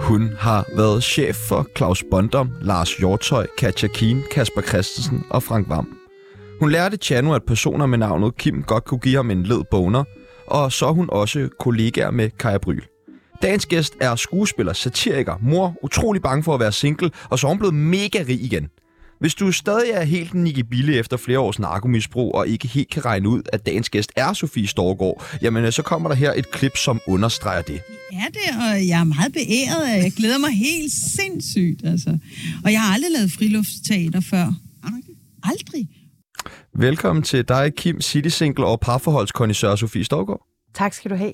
Hun har været chef for Claus Bondom, Lars Hjortøj, Katja Kien, Kasper Christensen og Frank Vam. Hun lærte Chano, at personer med navnet Kim godt kunne give ham en led boner, og så er hun også kollegaer med Kaja Bryl. Dagens gæst er skuespiller, satiriker, mor, utrolig bange for at være single, og så er hun blevet mega rig igen. Hvis du stadig er helt Nicky Bille efter flere års narkomisbrug, og ikke helt kan regne ud, at dagens gæst er Sofie Storgård, jamen øh, så kommer der her et klip, som understreger det. er det, og jeg er meget beæret. og Jeg glæder mig helt sindssygt, altså. Og jeg har aldrig lavet friluftsteater før. Har du ikke? Aldrig. Velkommen til dig, Kim City Single og parforholdskondisør Sofie Storgård. Tak skal du have.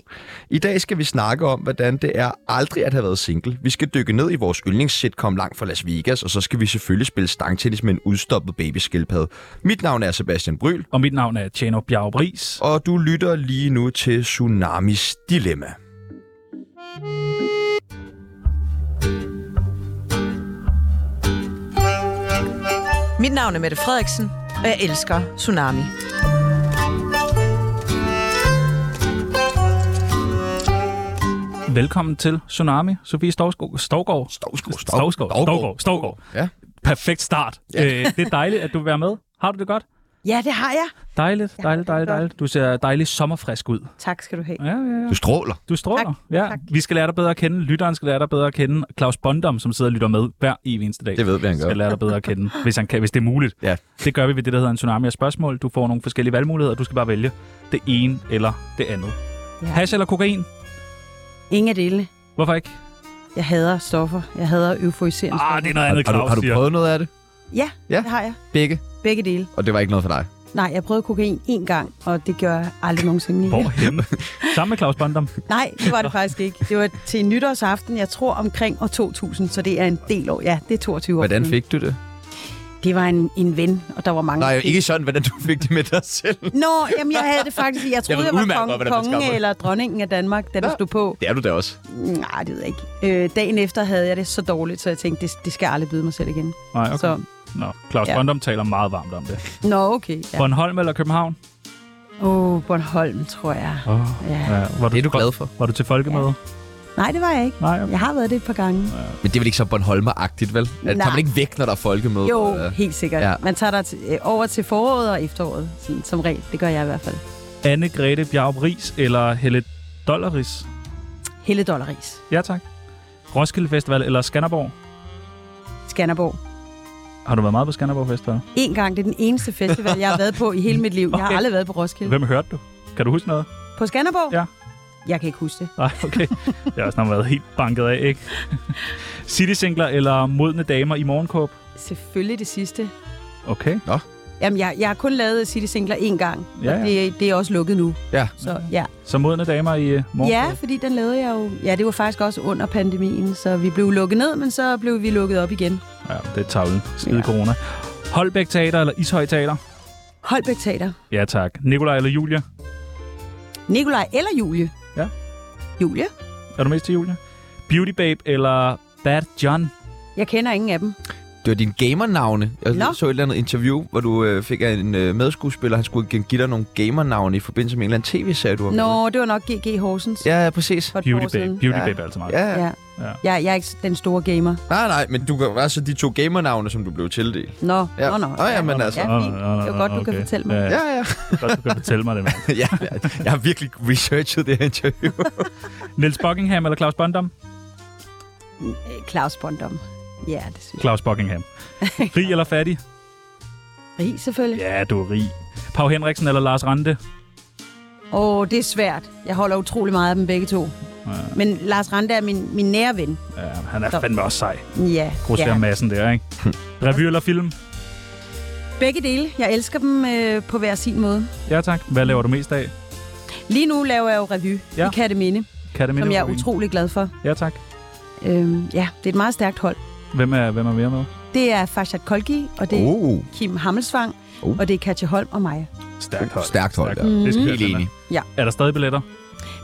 I dag skal vi snakke om, hvordan det er aldrig at have været single. Vi skal dykke ned i vores yndlingssitcom langt fra Las Vegas, og så skal vi selvfølgelig spille stangtennis med en udstoppet babyskildpadde. Mit navn er Sebastian Bryl, Og mit navn er Tjano Bjergbris. og du lytter lige nu til Tsunamis Dilemma. Mit navn er Mette Frederiksen, og jeg elsker Tsunami. Velkommen til Tsunami, Sofie Stovskov. Stovgård. Stovsgaard, Stovskov. Stovgård. Stovgård. Ja. Perfekt start. Ja. Øh, det er dejligt, at du vil være med. Har du det godt? Ja, det har jeg. Dejligt, Ja, dejligt, det er dejligt, godt. dejligt. Du ser dejlig sommerfrisk ud. Tak skal du have. Ja, ja, ja. Du stråler. Du stråler. Tak, ja. tak. Vi skal lære dig bedre at kende. Lytteren skal lære dig bedre at kende. Claus Bondom, som sidder og lytter med hver evig eneste dag. Det ved vi, han gør. skal lære dig bedre at kende, hvis, han kan, hvis det er muligt. Ja. Det gør vi ved det, der hedder en tsunami af spørgsmål. Du får nogle forskellige valgmuligheder, og du skal bare vælge det ene eller det andet. Ja. Hash eller kokain? Ingen af dele. Hvorfor ikke? Jeg hader stoffer. Jeg hader euforiserende Ah, det er noget Har, andet, har, du, Claus har du siger. prøvet noget af det? Ja, Ja. ja, det har jeg. Begge. Begge dele. Og det var ikke noget for dig. Nej, jeg prøvede kokain én gang, og det gjorde jeg aldrig nogensinde igen. Hvorhenne? Sammen med Claus Bondom. Nej, det var det faktisk ikke. Det var til nytårsaften, jeg tror omkring år 2000, så det er en del år. Ja, det er 22 år. Hvordan siden. fik du det? Det var en, en ven, og der var mange. Nej, ikke sådan, hvordan du fik det med dig selv. Nå, jamen jeg havde det faktisk. Jeg troede, ved jeg, jeg udmærket var godt, kong, hvordan man skaffer konge det. eller dronningen af Danmark, da Nå. det stod på. Det er du da også. Nej, det ved jeg ikke. Øh, dagen efter havde jeg det så dårligt, så jeg tænkte, det, det skal jeg aldrig byde mig selv igen. Nej, okay. Så, Nå, Claus Ja. Bondom taler meget varmt om det. nå, okay. Ja. Bornholm eller København? Åh, oh, Bornholm, tror jeg. Oh. Ja. Ja, var du, Det er du glad for. Var du til folkemøde? Nej, det var jeg ikke. Nej, okay. Jeg har været det et par gange. Men det er vel ikke så Bornholmer-agtigt, vel? Nej. Tager man Nej. ikke væk, når der er folkemøde? Jo, Øh, helt sikkert. Ja. Ja. Man tager dig til, øh, over til foråret og efteråret, sådan, som regel. Det gør jeg i hvert fald. Anne Grete Bjarup Ries eller Helle Dollaris? Helle Dollaris. Ja, tak. Roskilde Festival eller Skanderborg? Skanderborg. Har du været meget på Skanderborg Festival? En gang, det er den eneste festival, jeg har været på i hele mit liv. Jeg har Okay. aldrig været på Roskilde. Hvem hørte du? Kan du huske noget? På Skanderborg? Ja. Jeg kan ikke huske det. Nej, okay. Jeg har også snart været helt banket af, ikke? City singler eller modne damer i morgenkåb? Selvfølgelig det sidste. Okay. Jamen, jeg, jeg har kun lavet City Singler én gang, Ja, og ja. det, det er også lukket nu. Ja. Så ja. Så modne damer i øh, Ja, morgenkåb? fordi den lavede jeg jo. Ja, det var faktisk også under pandemien, så vi blev lukket ned, men så blev vi lukket op igen. Ja. ja det er tavlen. Skide Ja. corona. Holbæk Teater eller Ishøj Teater? Holbæk Teater. Ja, tak. Nikolaj eller Julia? Nikolaj eller Julie? Ja. Julie? Er du mest til Julia? Beauty Babe eller Bad John? Jeg kender ingen af dem. Det var dine gamernavne. Jeg Nå. Nå. så et eller andet interview, hvor du øh, fik af en øh, medskuespiller. Han skulle give give dig nogle gamernavne i forbindelse med en eller anden tv-serie, du var med Nå, det var nok GG Horsens. i. Ja, ja, præcis. for et par Beauty år Babe. siden. Beauty Ja. Babe er altså meget. Ja, ja. Ja. Ja. ja. Jeg, jeg er ikke den store gamer. Nej, nej, men du kan altså de to gamernavne, som du blev tildelt. Nå, Ja. nå, nå. Nå, ja, men altså. Ja, fint. Det var godt, du kan fortælle mig. Ja, Ja, ja. godt, du kan fortælle mig det, mand. ja ja. jeg har virkelig researchet det her interview. Niels Buckingham eller Claus Bondom? Øh, Claus Bondom. Ja, det synes jeg. Claus Buckingham. Rig eller fattig? Rig, selvfølgelig. Ja, du er rig. Pau Henriksen eller Lars Rante? Åh, det er svært. Jeg holder utrolig meget af dem begge to. Men Lars Rande er min, min nære ven. Ja, han er Så- fandme også sej. Ja, Grosser ja. massen der, ikke? Revy eller film? Begge dele. Jeg elsker dem øh, på hver sin måde. Ja tak. Hvad laver du mest af? Lige nu laver jeg jo revy Ja. ja. i Katteminde, Kan det som jeg er utrolig glad for. Ja tak. Øhm, ja, det er et meget stærkt hold. Hvem er, hvem er mere med? Det er Farshad Kolgi, og det er Oh, Kim Hammelsvang, Oh. og det er Katja Holm og mig. Stærkt hold. stærkt hold. hold. Ja. Det skal jeg Helt finde. enig. Er der stadig billetter?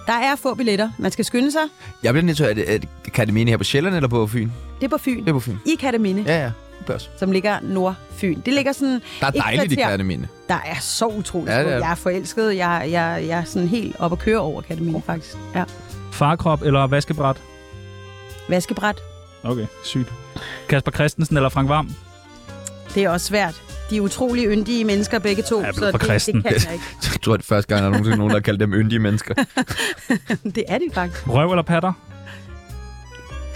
Der er få billetter. Man skal skynde sig. Jeg bliver nødt til, at er det Akademien her på Sjælland eller på Fyn? Det er på Fyn. Det er på Fyn. I Katteminde, ja. Ja, ja. Børs. som ligger Nordfyn. Det ligger sådan... Der er Et dejligt i kvarter. Akademien. Der er så utroligt. Ja, Ja, det er er. det. Jeg er forelsket. Jeg, jeg, Oh. jeg er sådan helt op at køre over Katteminde, faktisk. Ja. Farkrop eller vaskebræt? Vaskebræt, Okay, sygt. Kasper Christensen eller Frank Vam? det er også svært. De er utrolig yndige mennesker begge to, Jeg er blevet så for det, kristen. det kan jeg ikke. Jeg tror, det er første gang, der er nogensinde nogen, der har kaldt dem yndige mennesker. Det er de faktisk. Røv eller patter?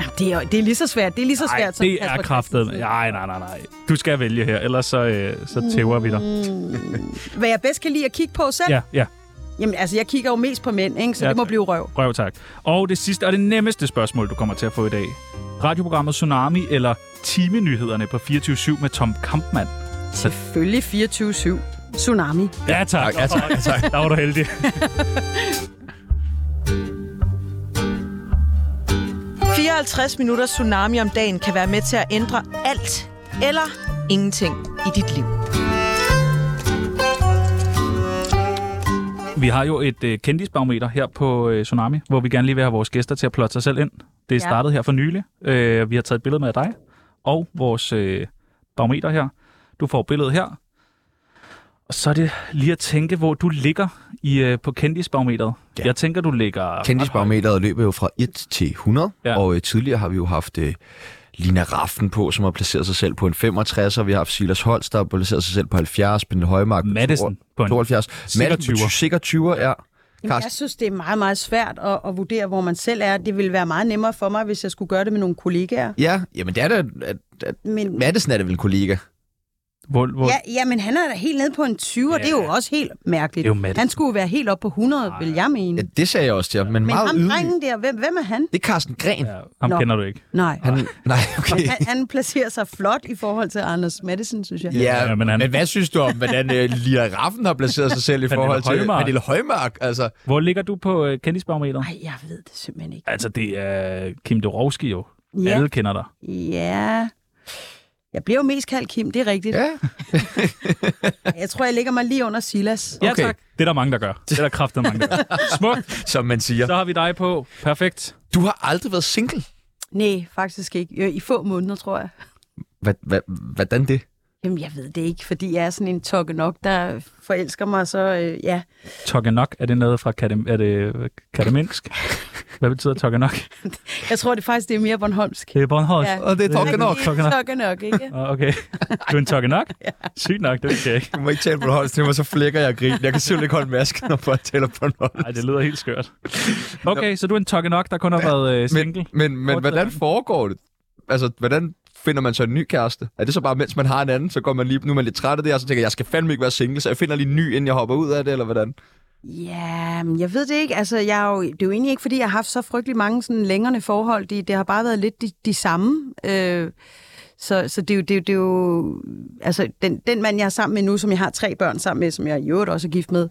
Jamen, det, er, det er lige så svært. Det er lige så Ej, svært som det er Kasper kraftet. Christensen. Nej, nej, nej, nej. Du skal vælge her, ellers så, øh, så tæver vi dig. Mm, hvad jeg bedst kan lide at kigge på selv? Ja, ja. Jamen, altså, jeg kigger jo mest på mænd, ikke? så Ja, det må tak. blive røv. Røv, tak. Og det sidste og det nemmeste spørgsmål, du kommer til at få i dag. Radioprogrammet Tsunami eller Timenyhederne på 24-7 med Tom Kampmann? Selvfølgelig 24-7. Tsunami. Ja, tak. Ja, tak, ja, tak. Der var du heldig. det. 54 minutters tsunami om dagen kan være med til at ændre alt eller ingenting i dit liv. Vi har jo et øh, kendisbarometer her på øh, Tsunami, hvor vi gerne lige vil have vores gæster til at plotte sig selv ind. Det er Ja. startet her for nylig. Øh, vi har taget et billede med af dig og vores øh, barometer her. Du får billedet her. Og så er det lige at tænke, hvor du ligger i, øh, på kendisbarometeret. Ja. Ja. Jeg tænker, du ligger... Kendisbarometeret løber jo fra 1 til 100, Ja. ja. og øh, tidligere har vi jo haft øh, Lina Raften på, som har placeret sig selv på en 65, og vi har haft Silas Holst, der har placeret sig selv på 70, Pernille Højmark på Madison på en 72. sikker Madsen 20'er. på sikker 20'er, ja. Jamen, jeg Karsten, synes, det er meget, meget svært at, at vurdere, hvor man selv er. Det ville være meget nemmere for mig, hvis jeg skulle gøre det med nogle kollegaer. ja, jamen det er da... At, at Men, Madison er da vel en kollega. Hvor, hvor, ja, ja, men han er da helt nede på en 20, og Ja. det er jo også helt mærkeligt. Det er jo Madsen. han skulle jo være helt op på 100, vil jeg mene. Ja, det sagde jeg også til ham, men, men meget ham ydmyg. drengen der, hvem, hvem er han? Det er Carsten Gren. Ja, ham Nå. Nå. kender du ikke. Nej. Han, nej, Og okay. han, han placerer sig flot i forhold til Anders Madsen, synes jeg. Ja, Ja, ja men men, han- han... men hvad synes du om, hvordan øh, Lina Raffen har placeret sig selv i Pernille forhold til Højmark. Pernille Højmark? Altså, Hvor ligger du på øh, kendisbarometeret? Nej, jeg ved det simpelthen ikke. Altså, det er Kim Dorowski jo. Ja. Alle kender dig. Ja. Jeg bliver jo mest kaldt Kim, det er rigtigt. ja, Jeg tror, jeg ligger mig lige under Silas. Okay. Det er der mange, der gør. Det er der kraftet mange, der gør. Smukt. som man siger. Så har vi dig på. Perfekt. Du har aldrig været single. Nej, faktisk ikke. Jo, I få måneder, tror jeg. Hvad, hvad, hvordan det? Jamen, jeg ved det ikke, fordi jeg er sådan en tokke nok, der forelsker mig, så øh, ja. Tokanok, er det noget fra Kadem, er det Kademinsk? Hvad betyder Tokanok? Jeg tror det faktisk, det er mere Bornholmsk. Det er Bornholm. Ja. Og det er Tokanok. Tokanok. Tokke nok, ikke? Ah, Okay. Du er en Tokanok? Sygt nok, det vidste jeg ikke. Du må ikke tale på holds til mig, så flækker jeg grin. Jeg kan simpelthen ikke holde masken, når jeg taler på holds. Nej, det lyder helt skørt. Okay, så du er en Tokanok, der kun har været øh, single? Men, men, men hvordan foregår det? Altså, hvordan finder man så en ny kæreste? Er det så bare, mens man har en anden, så går man lige, nu er man lidt træt af det, og så tænker jeg, jeg skal fandme ikke være single, så jeg finder lige en ny, inden jeg hopper ud af det, eller hvordan? Ja, men jeg ved det ikke. Altså, jeg er jo, det er jo egentlig ikke, fordi jeg har haft så frygtelig mange sådan længere forhold. Det, det har bare været lidt de, de samme. Øh, så, så det, er jo, det, er jo- det er jo... Altså, den, den mand, jeg er sammen med nu, som jeg har tre børn sammen med, som jeg i øvrigt også er gift med,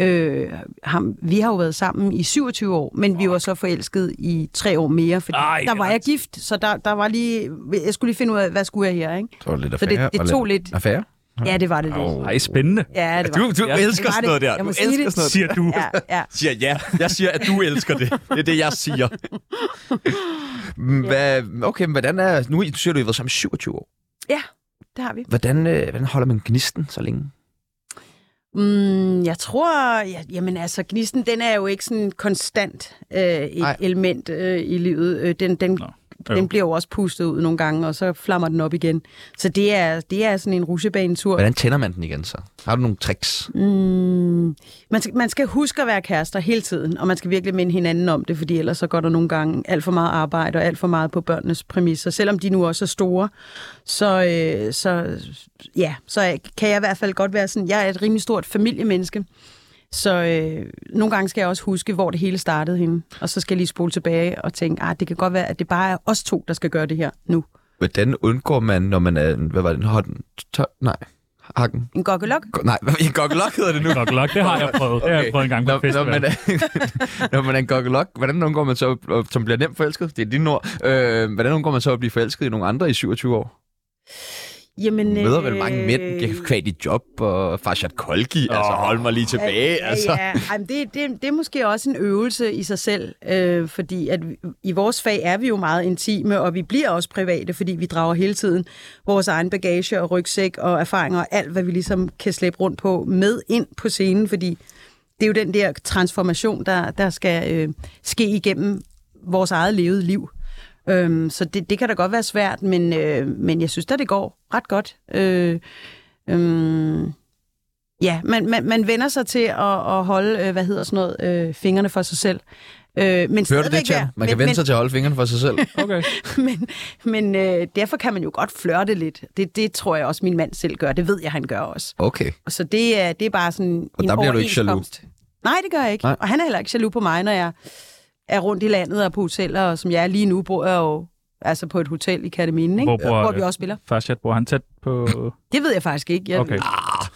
øh, ham, vi har jo været sammen i 27 år, men vi var så forelsket i tre år mere, fordi Ej, Ej, der var ej. jeg gift, så der, der var lige... Jeg skulle lige finde ud af, hvad skulle jeg her, ikke? Det var lidt Så det- affære det og tog lidt- lidt- Affære? Ja, det var det lidt. Nej, spændende. Ja, det var Du, du Ja, ja, det elsker var sådan det. noget der. Jeg Du må sige elsker det. sådan noget. Siger du. Ja, ja. siger ja. Jeg siger, at du elsker det. Det er det, jeg siger. Hvad, okay, men hvordan er... Nu siger du, I har været sammen i 27 år. ja, det har vi. Hvordan, øh, hvordan holder man gnisten så længe? Mm, jeg tror, ja, jamen altså, gnisten, den er jo ikke sådan konstant øh, et Nej. element øh, i livet. Øh, den, den, Nå, jo. den bliver jo også pustet ud nogle gange, og så flammer den op igen. Så det er, det er sådan en rusjebanetur. Hvordan tænder man den igen så? Har du nogle tricks? Mm, man, skal, man skal huske at være kærester hele tiden, og man skal virkelig minde hinanden om det, fordi ellers så går der nogle gange alt for meget arbejde og alt for meget på børnenes præmisser. Selvom de nu også er store, så, øh, så, ja, så kan jeg i hvert fald godt være sådan, jeg er et rimelig stort familiemenneske, så øh, nogle gange skal jeg også huske, hvor det hele startede henne, og så skal jeg lige spole tilbage og tænke, at det kan godt være, at det bare er os to, der skal gøre det her nu. Hvordan undgår man, når man er... en- Hvad var det? Hotten? Tør, nej. Hakken? En gokkelok? Go- nej, hvad en goggelok hedder det nu? Tokanok, det har jeg prøvet. Det har jeg prøvet en gang på Når, når, festival. man er, når man er en goggelok, hvordan undgår man så, at- som bliver nemt forelsket? Det er dine ord. Øh, hvordan undgår man så at blive forelsket i nogle andre i 27 år? Jamen, Du møder vel mange mænd, øh, jeg kan dit job, og Farshad Kolki, oh. altså hold mig lige tilbage, Ja, altså. Ja, Ej, men det, det, det er måske også en øvelse i sig selv, øh, fordi at vi- i vores fag er vi jo meget intime, og vi bliver også private, fordi vi drager hele tiden vores egen bagage og rygsæk og erfaringer og alt, hvad vi ligesom kan slæbe rundt på med ind på scenen, fordi det er jo den der transformation, der, der skal øh, ske igennem vores eget levede liv. Øhm, så det, det kan da godt være svært, men, øh, men jeg synes da, det går ret godt. Øh, øhm, ja, man, man, man vender sig til at, at holde, øh, hvad hedder sådan noget, øh, fingrene for sig selv. Øh, men Hører du det, stadigvæk Chan? være- Man kan men, vende sig til at holde fingrene for sig selv. Okay. men, men øh, derfor kan man jo godt flørte lidt. Det, det tror jeg også, min mand selv gør. Det ved jeg, han gør også. Okay. Og Så det er, det er bare sådan Og en der bliver du ikke jaloux? overenskomst. Nej, det gør jeg ikke. Nej. Nej. Og han er heller ikke jaloux på mig, når jeg er rundt i landet og på hoteller, og som jeg er lige nu, bor jeg jo altså på et hotel i Kataminen, ikke? Hvor Hvor, bor- hvor vi også spiller. Først, jeg bor han tæt på... Det ved jeg faktisk ikke. Jeg, Okay. Ah.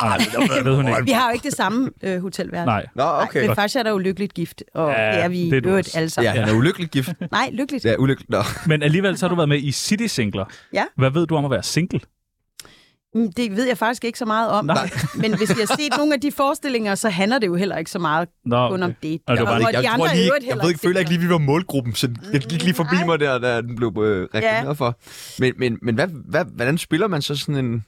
Ah, Nej, det ved hun ikke. Vi har jo ikke det samme øh, hotelværelse. Nej. Nå, Nej, men faktisk er der jo lykkeligt gift, og Ja, ja, det er vi det er i du øvrigt også. alle Ja, sammen. Ja. han er ulykkelig gift. Nej, lykkeligt. Ja, ulykkelig. Nå. Men alligevel så har du været med i City Singler. Ja. Hvad ved du om at være single? Mm, Det ved jeg faktisk ikke så meget om. Nej. Men hvis jeg har set nogle af de forestillinger, så handler det jo heller ikke så meget Nå, kun om okay. det. Og det var bare hvor ikke- de andre i øvrigt heller lige, vi var målgruppen, så den gik lige forbi mig der, da den blev øh, reklameret for. Men, men, men hvad, hvad, hvordan spiller man så sådan en...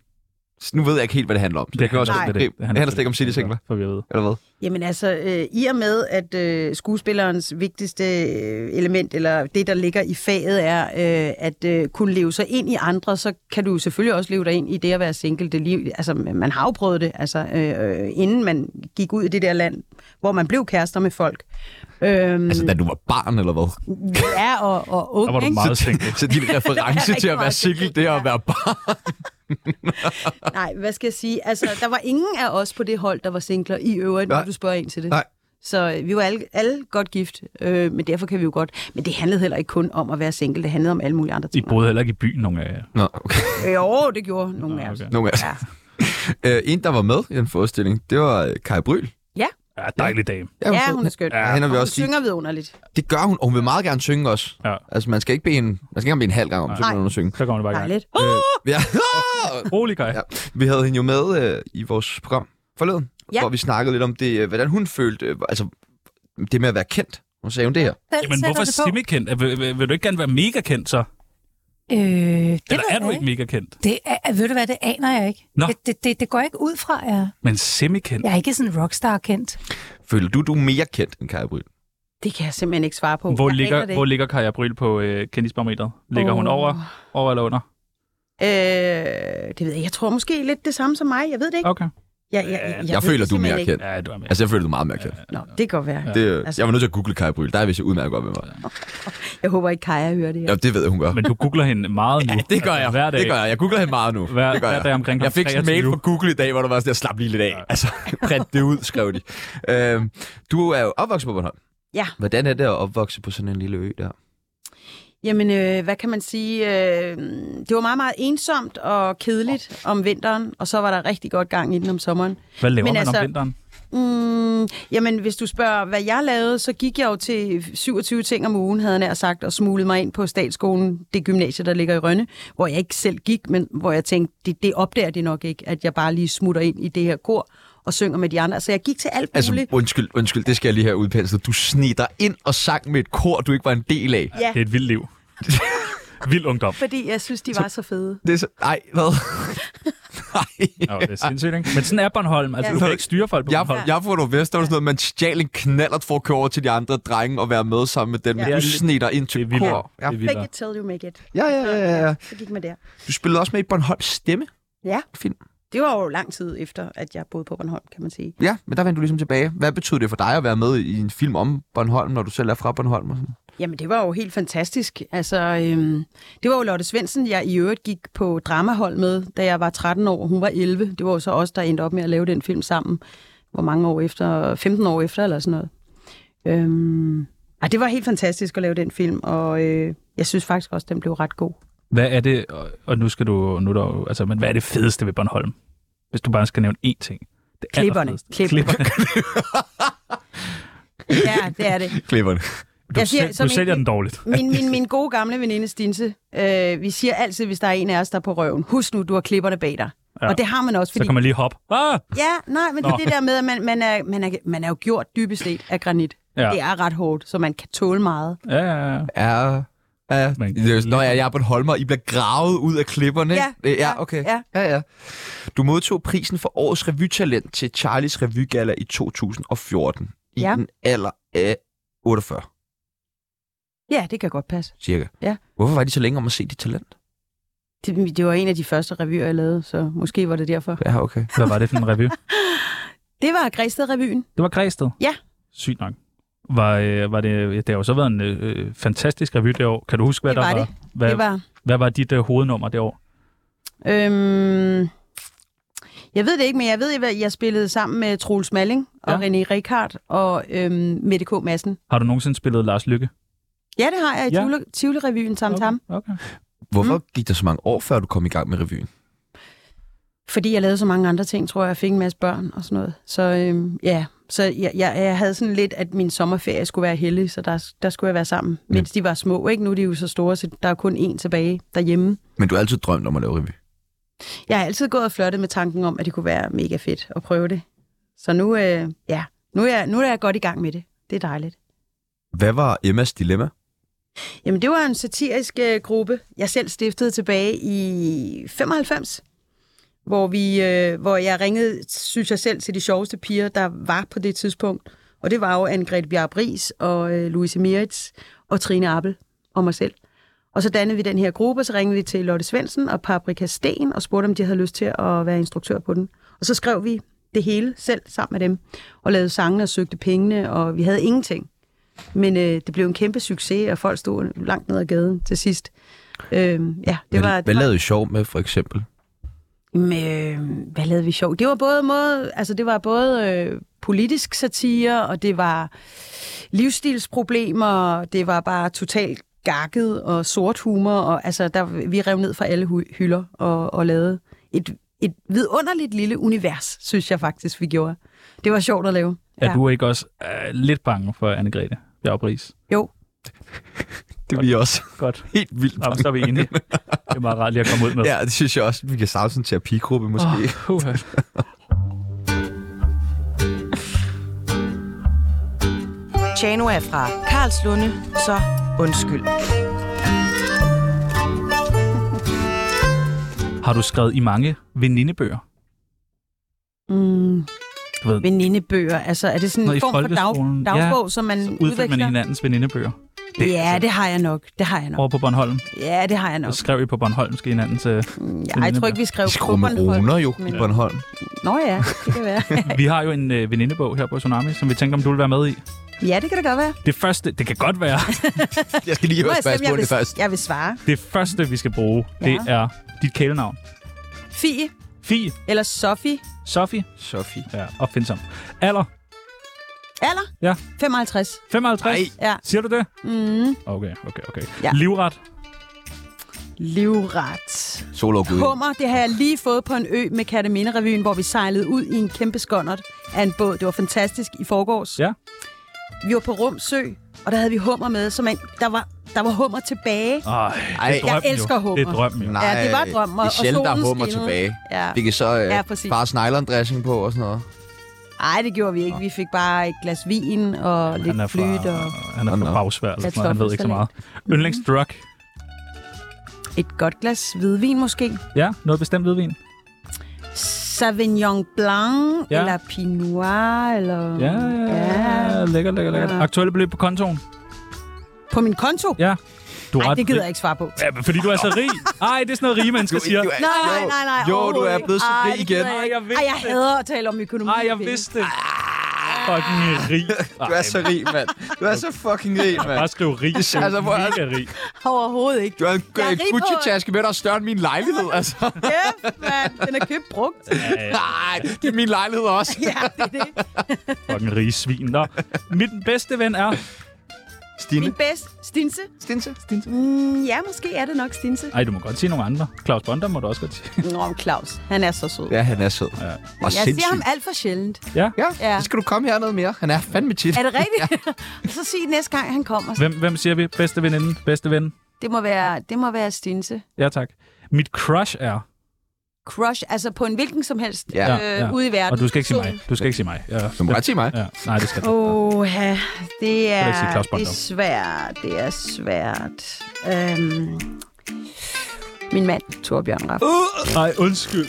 Nu ved jeg ikke helt, hvad det handler om. Så Det kan kan også også Nej. det, det, det, det, det handler slet ikke om City Singler, For vi ved. eller hvad? Jamen altså, øh, i og med, at øh, skuespillerens vigtigste øh, element, eller det, der ligger i faget, er øh, at øh, kunne leve sig ind i andre, så kan du jo selvfølgelig også leve dig ind i det at være single. Det liv, altså, man har jo prøvet det, altså, øh, øh, inden man gik ud i det der land, hvor man blev kærester med folk. Øhm, Altså, da du var barn, eller hvad? ja, og, og Der var ung, du ikke? meget single. Så din reference til at være single, det er at være barn. Nej, hvad skal jeg sige? Altså, der var ingen af os på det hold, der var singler i øvrigt, Nej. når du spørger ind til det. Nej. Så øh, vi var alle, alle godt gift, øh, men derfor kan vi jo godt. Men det handlede heller ikke kun om at være single, det handlede om alle mulige andre I ting. boede heller ikke i byen, nogen af jer. Nå, okay. Øh, Jo, det gjorde nogle af os. Ah, Okay. Nogle af os. Ja. Øh, en, der var med i den forestilling, det var øh, Kai Bryl. Ja, dejlig dame. hun Ja, fed. hun er skøn. Ja, hende har Og vi hun også lige- synger vidunderligt. Det gør hun, og hun vil meget gerne synge også. Ja. Altså, man skal ikke bede en, man skal ikke engang bede en halv gang om, så Nej. kan hun synge. Så kommer det bare i gang. Dejligt. Ja. Rolig, Kai. Ja. Vi havde hende jo med øh, i vores program forleden, Ja. hvor vi snakkede lidt om det, øh, hvordan hun følte, øh, altså det med at være kendt. Hun sagde jo det her. Jamen, hvorfor semikendt? Øh, Vil, vil, vil du ikke gerne være mega kendt, så? Øh, det Eller ved er du jeg ikke mega kendt? Det er, ved du hvad, det aner jeg ikke. Nå. Det, det, det, det går ikke ud fra, jeg, Men semikendt? jeg er ikke sådan rockstar-kendt. Føler du, du er mere kendt end Kaja Bryl? Det kan jeg simpelthen ikke svare på. Hvor Jeg aner ligger, det hvor ligger Kaja Bryl på øh, kendisbarometeret? Ligger oh. hun Åh. over, over eller under? ikke. Øh, det ved jeg. Jeg tror måske lidt det samme som mig. Jeg ved det ikke. Okay. Jeg, jeg, jeg, Jeg, jeg ved føler, det du er simpelthen mere ikke. kendt. Ja, du er med. Altså, jeg føler, du er meget mere kendt. Nå, det kan godt være. Det, øh, altså- jeg var nødt til at google Kaja Bryl. Der er vist udmærket godt med mig. Jeg håber ikke, Kaja hører det her. Ja, det ved jeg, hun gør. Men du googler hende meget nu. Ja, det gør jeg. Altså, hver dag. Det gør jeg. Jeg googler hende meget nu. Hver, det gør hver jeg. dag omkring Jeg fik sådan en mail fra Google i dag, hvor der var sådan, jeg slap lige lidt af. Ja. Altså, print det ud, skrev de. Øhm, du er jo opvokset på Bornholm. Ja. Hvordan er det at opvokse på sådan en lille ø der? Jamen, øh, hvad kan man sige? Øh, det var meget, meget ensomt og kedeligt om vinteren, og så var der rigtig godt gang i den om sommeren. Hvad laver Men man altså- om vinteren? Mm, jamen, hvis du spørger, hvad jeg lavede, så gik jeg jo til 27 ting om ugen, havde jeg nær sagt, og smuglede mig ind på statsskolen, det gymnasie, der ligger i Rønne, hvor jeg ikke selv gik, men hvor jeg tænkte, det, det opdager de nok ikke, at jeg bare lige smutter ind i det her kor og synger med de andre. Så jeg gik til alt muligt. Altså, undskyld, undskyld, det skal jeg lige have udpenslet. Du sneg dig ind og sang med et kor, du ikke var en del af. ja, Det er et vildt liv. Vild ungdom. fordi jeg synes, de var så fede. Det er så... Ej, hvad? Nej. Nå, det er sindssygt, ikke? Men sådan er Bornholm. Altså, Ja. du kan ikke styre folk på Jeg, Bornholm. jeg får noget vest, der var sådan noget, man stjal en knallert for at køre over til de andre drenge og være med sammen med dem. Ja. Ja. Du sneg dig ind Det er til vildt. kor. Det er Make vildt. it till you make it. Ja, ja, ja, ja, ja. Så gik man der. Du spillede også med i Bornholms Stemme. Ja. Film. Det var jo lang tid efter, at jeg boede på Bornholm, kan man sige. Ja, men der vendte du ligesom tilbage. Hvad betød det for dig at være med i en film om Bornholm, når du selv er fra Bornholm? Og sådan? Jamen, det var jo helt fantastisk. Altså, øhm, det var jo Lotte Svendsen, jeg i øvrigt gik på dramahold med, da jeg var 13 år. Hun var 11. Det var jo så os, der endte op med at lave den film sammen. Hvor mange år efter? 15 år efter, eller sådan noget. Øhm, ej, det var helt fantastisk at lave den film, og øh, jeg synes faktisk også, den blev ret god. Hvad er det, og- og nu skal du, nu er der, jo- altså, men hvad er det fedeste ved Bornholm? Hvis du bare skal nævne én ting. Det Klipperne. allerfedeste. Klipperne. Klipperne. Ja, det er det. Klipperne. Du, Jeg siger, siger, som du sælger en- den dårligt. Min, min, min gode gamle veninde Stinse, øh, vi siger altid, hvis der er en af os, der er på røven, husk nu, du har klipperne bag dig. Ja. Ja. Og det har man også, Så fordi kan man lige hoppe. Ah! Ja, nej, men det Nå. er det der med, at man, man, er, man, er, man er jo gjort dybest set af granit. Ja. Ja. Det er ret hårdt, så man kan tåle meget. Ja, ja, ja. Ja, ja. Men- Det er jo sådan, Nå ja, jeg er på en holmer. I bliver gravet ud af klipperne. Ja, Øh, ja ja, okay. ja. ja, ja. Du modtog prisen for årets revytalent til Charlies Revygala i 2014. I Ja. den alder af 48. Ja, det kan godt passe. cirka. Ja. Hvorfor var de så længe om at se dit talent? Det, det var en af de første revyer, jeg lavede, så måske var det derfor. Ja, okay. Hvad var det for en revy? Det var Græsted-revyen. Det var Græsted? Ja. Sygt nok. Var, øh, var det, det har jo så været en øh, fantastisk revy det år. Kan du huske, hvad Det der var var? Hvad, Det var hvad var dit øh, hovednummer det år? Øhm, jeg ved det ikke, men jeg ved, at jeg spillede sammen med Troels Malling og Ja. ja. René Rikard og øhm, Mette K. Madsen. Har du nogensinde spillet Lars Lykke? Ja, det har jeg i Ja. ja. Tivoli-revyen samt okay. ham, Okay. Mm. Hvorfor gik der så mange år, før du kom i gang med revyen? fordi jeg lavede så mange andre ting, tror jeg. Jeg fik en masse børn og sådan noget. Så øhm, ja, så jeg, jeg, jeg havde sådan lidt, at min sommerferie skulle være heldig, så der, der skulle jeg være sammen, mens de var små. Ikke? Nu er de jo så store, så der er kun én tilbage derhjemme. Men du har altid drømt om at lave revy. Jeg har altid gået og flirtet med tanken om, at det kunne være mega fedt at prøve det. Så nu, øh, ja, nu er, jeg, nu er jeg godt i gang med det. Det er dejligt. Hvad var Emmas dilemma? Jamen, det var en satirisk øh, gruppe, jeg selv stiftede tilbage i 95, hvor, vi, øh, hvor jeg ringede, synes jeg selv, til de sjoveste piger, der var på det tidspunkt. Og det var jo Anne-Grethe Bjarup Riis og øh, Louise Mirits og Trine Appel og mig selv. Og så dannede vi den her gruppe, og så ringede vi til Lotte Svendsen og Paprika Sten og spurgte, om de havde lyst til at være instruktør på den. Og så skrev vi det hele selv sammen med dem, og lavede sangene og søgte pengene, og vi havde ingenting. Men øh, det blev en kæmpe succes, og folk stod langt ned ad gaden til sidst. Øh, ja, det Hvad- var, Hvad det var, lavede I sjov med, for eksempel? med, hvad lavede vi sjov? Det var både måde, altså det var både øh, politisk satire, og det var livsstilsproblemer, og det var bare totalt gakket og sort humor, og altså der, vi rev ned fra alle hy- hylder og, og lavede et, et vidunderligt lille univers, synes jeg faktisk, vi gjorde. Det var sjovt at lave. Er du ikke også øh, lidt bange for Anne-Grethe Bjarup Riis? Jo, Det bliver også Godt. helt vildt. Nå, men så er vi enige. Det er meget rart lige at komme ud med. Ja, det synes jeg også, vi kan savne sådan en terapigruppe måske. Oh. Oh, Tjano er fra Karlslunde, så undskyld. har du skrevet i mange venindebøger? mm, Du ved, venindebøger, altså er det sådan Noget i en form for dag, folkeskolen, ja. dagbog, som man så udfik man udveksler? hinandens venindebøger. Det, ja, det har jeg nok. Det har jeg nok. Over på Bornholm. Ja, det har jeg Så nok. skrev I på Bornholmsk hinandens... Øh, Ja, jeg tror ikke, vi skrev De skruer med roner jo i Bornholm. Nå ja, det kan være. vi har jo en øh, venindebog her på Tsunami, som vi tænkte, om du ville være med i. ja, det kan det godt være. Det første, det kan godt være, Jeg skal lige Må høre jeg se, om jeg spørgsmålet vil, først. jeg vil svare. det første, vi skal bruge, ja. det Ja. er dit kælenavn. Fie Fie, eller Sofie. Sofie, Sofie. ja, opfindsom. Alder, Alder? Ja. 55. 55. Ej. Ja. Siger du det? Mm. Okay, okay, okay. Ja. Livret, Livret. Sol og Gud. Hummer, det har jeg lige fået på en ø med Katamine-revyen, hvor vi sejlede ud i en kæmpe skåndert af en båd. Det var fantastisk i forgårs. Ja. Vi var på Rumsø, og der havde vi hummer med, så man, der, var, der var hummer tilbage. Ej, Ej. det er drømmen Jeg elsker jo. Det er hummer. drømmen jo. Nej, Ja, det var drømmen, og- Det er og sjældent, der er solen hummer skinnede. tilbage. Ja. Vi kan så øh, Ja, ja, præcis. bare Island dressing på og sådan noget. Nej, det gjorde vi ikke. Vi fik bare et glas vin og Han er lidt fra, flyt og han er Nå, nå. fra Bagsvær, eller sådan noget. han ved ikke så meget. Kartoffelsalat. Yndlingsdrug, et godt glas hvidvin måske. ja, noget bestemt hvidvin. Sauvignon Blanc, Ja. ja. eller Pinot Noir, eller... Ja, ja, lækker, lækker, lækker. Ja. Aktuelle beløb på kontoen. På min konto? Ja. Du er Nej, ret det gider rig. jeg ikke svare på. Ja, men fordi du er så rig. Ej, det er sådan noget rige mennesker siger. er- Nej, nej, nej, nej, Jo, du overhovedet er ikke. blevet så Ej, rig det igen. gider Ej, ikke. jeg Ej, vidste jeg det. hader at tale om økonomi. Ej, jeg vidste Ah. det. Fucking rig. Du er så rig, mand. Du er så fucking rig, mand. Bare skriv rig. Det er altså, hvor er- mega rig. Overhovedet ikke. Du har en Jeg er øh, rig på- Gucci-taske med, der er større end min lejlighed, altså. Kæft, mand. Den er købt brugt. Nej, det er min lejlighed også. Ja, det er det. Fucking rig svin. Nå, mit bedste ven er... Stine. Min bedste. Stinse? Stinse. Mm, ja, måske er det nok Stinse. Ej, du må godt sige nogle andre. Claus Bonder må du også godt sige. Nå, men Claus, han er så sød. Ja, han er sød. Ja. Og jeg ser ham sindssyg. alt for sjældent. Ja, Ja. så skal du komme hernede mere. Han er fandme tit. Er det rigtigt? Ja. så sig næste gang, han kommer. Hvem, hvem siger vi? Bedste veninde? Bedste ven? Det må være, det må være Stinse. Ja, tak. Mit crush er... Crush, altså på en hvilken som helst Ja. ja, øh, Ja, ja. ja. ude i verden. Og du skal ikke sige mig. Du skal ikke sige mig. Ja. Du må godt sige mig. Ja, nej, det skal du. ikke. Åh, det jeg ikke sige er, Claus det Bondum. er svært. Det er svært. Øhm, Min mand, Torbjørn Raff. Nej, undskyld.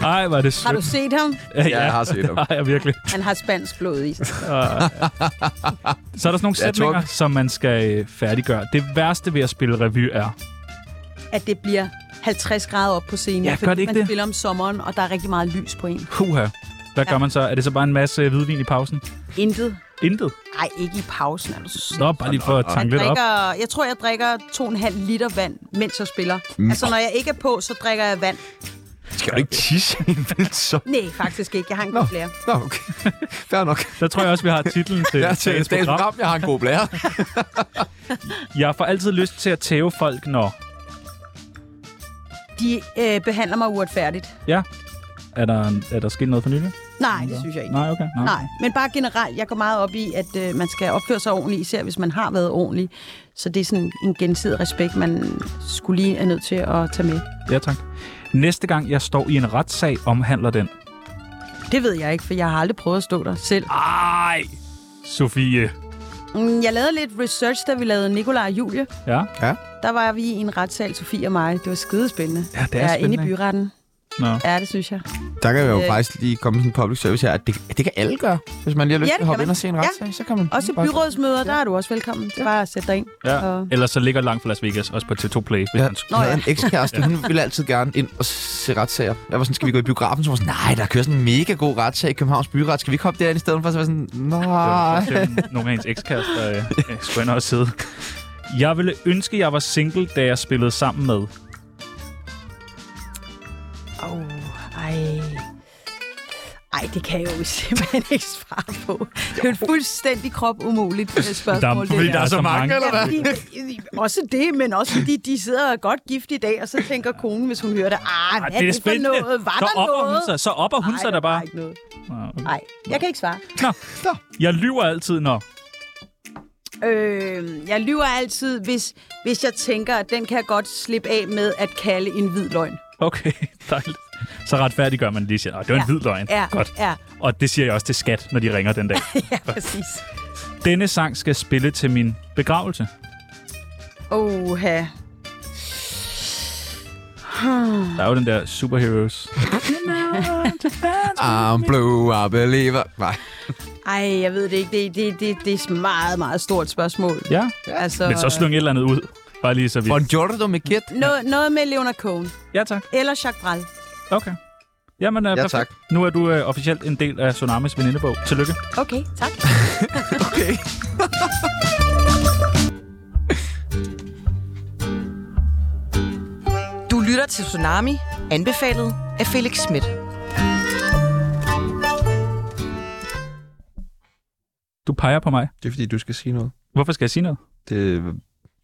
Nej, var det sødt. Har du set ham? Ja, Ja, jeg har set ham. Ja, virkelig. Han har spansk blod i sig. Så er der sådan nogle Ja, Torben. sætninger, som man skal øh, færdiggøre. Det værste ved at spille revy er... At det bliver 50 grader op på scenen. Ja, gør fordi det ikke man det? spiller om sommeren, og der er rigtig meget lys på en. Huha. Hvad gør man så? Er det så bare en masse hvidvin i pausen? Intet. Intet. Nej, ikke i pausen. Er du s- Nå, bare lige for at tanke lidt op. drikker, jeg tror, jeg drikker 2,5 liter vand, mens jeg spiller. Mm. Altså, når jeg ikke er på, så drikker jeg vand. Skal du ikke tisse i en vild så? Nej, faktisk ikke. Jeg har en Nå, god blære. nå, okay. Fair nok. Der tror jeg også, vi har titlen til Jeg til dagens dagens program. program, jeg har en god blære. Jeg får altid lyst til at tæve folk, når... De øh, behandler mig uretfærdigt. Ja. Er der, er der sket noget for nylig? Nej, det synes jeg ikke. Nej, okay. Nej, men bare generelt, jeg går meget op i, at øh, man skal opføre sig ordentligt, især hvis man har været ordentlig. Så det er sådan en gensidig respekt, man skulle lige er nødt til at tage med. Ja, tak. Næste gang, jeg står i en retssag, omhandler den. Det ved jeg ikke, for jeg har aldrig prøvet at stå der selv. Ej, Sofie. Mm, Jeg lavede lidt research, da vi lavede Nikolaj og Julie. Ja, Der var vi i en retssal, Sofie og mig. Det var skidespændende. ja det er Ja, inde spændende. i byretten. Nå. Ja, det synes jeg. Der kan jeg jo Øh. faktisk lige komme sådan en public service her, at det, det kan alle gøre. Hvis man lige har lyst til Ja, det at hoppe kan ind og se en man. retssag, så kan man... Også bare- byrådsmøder, der er du også velkommen. Det er bare at sætte dig ind. Ja. Og- Ellers så ligger langt fra Las Vegas, også på T2 Play. Hvis Jeg man skulle. havde en ekskæreste, hun ville altid gerne ind og se retssager. Jeg var sådan, skal vi gå i biografen? Så var hun sådan, nej, der kører sådan en mega god retssag i Københavns Byret. Skal vi ikke hoppe derind i stedet for? Så var jeg sådan, nej. Det var for eksempel nogle af hendes ekskærester øh, øh, skulle ind og sidde. Jeg ville ønske, jeg var single, da jeg spillede sammen med. Åh, oh, ej. Ej, det kan jeg jo simpelthen ikke svare på. Det er jo et fuldstændig krop umuligt øh, spørgsmål. fordi det der er så mange, Altså, eller Ja, fordi, også det, men også fordi de sidder godt gift i dag, og så tænker konen, hvis hun hører det, ah, hvad Ej, er det, det for noget? Var så der opper noget? hun sig, så opper hun Ej, sig der der var bare. Ikke noget. Nå, okay. Nej, jeg kan ikke svare. Jeg lyver altid, når... Øh, jeg lyver altid, hvis, hvis jeg tænker, at den kan jeg godt slippe af med at kalde en hvid løgn. Okay, dejligt. Så retfærdiggør man lige siger, "Nå, det var en hvid løgn. Ja, Godt. ja, Og det siger jeg også til skat, når de ringer den dag. ja, præcis. Denne sang skal spille til min begravelse. Oha. Der er jo den der Superheroes. I'm blue, I believer. Nej. Ej, jeg ved det ikke. Det, det, det, det er et meget, meget stort spørgsmål. Ja, Altså, men så slyng et eller andet ud. Bare lige så vi... Buongiorno, mi kid. Noget, noget med Leonard Cohen. Ja, tak. Eller Jacques Brel. Okay. Jamen, øh, Ja, perfekt. tak. Nu er du øh, officielt en del af Tsunamis venindebog. Tillykke. Okay, tak. Okay. Du lytter til Tsunami, anbefalet af Felix Schmidt. Du peger på mig. Det er fordi, du skal sige noget. Hvorfor skal jeg sige noget? Det,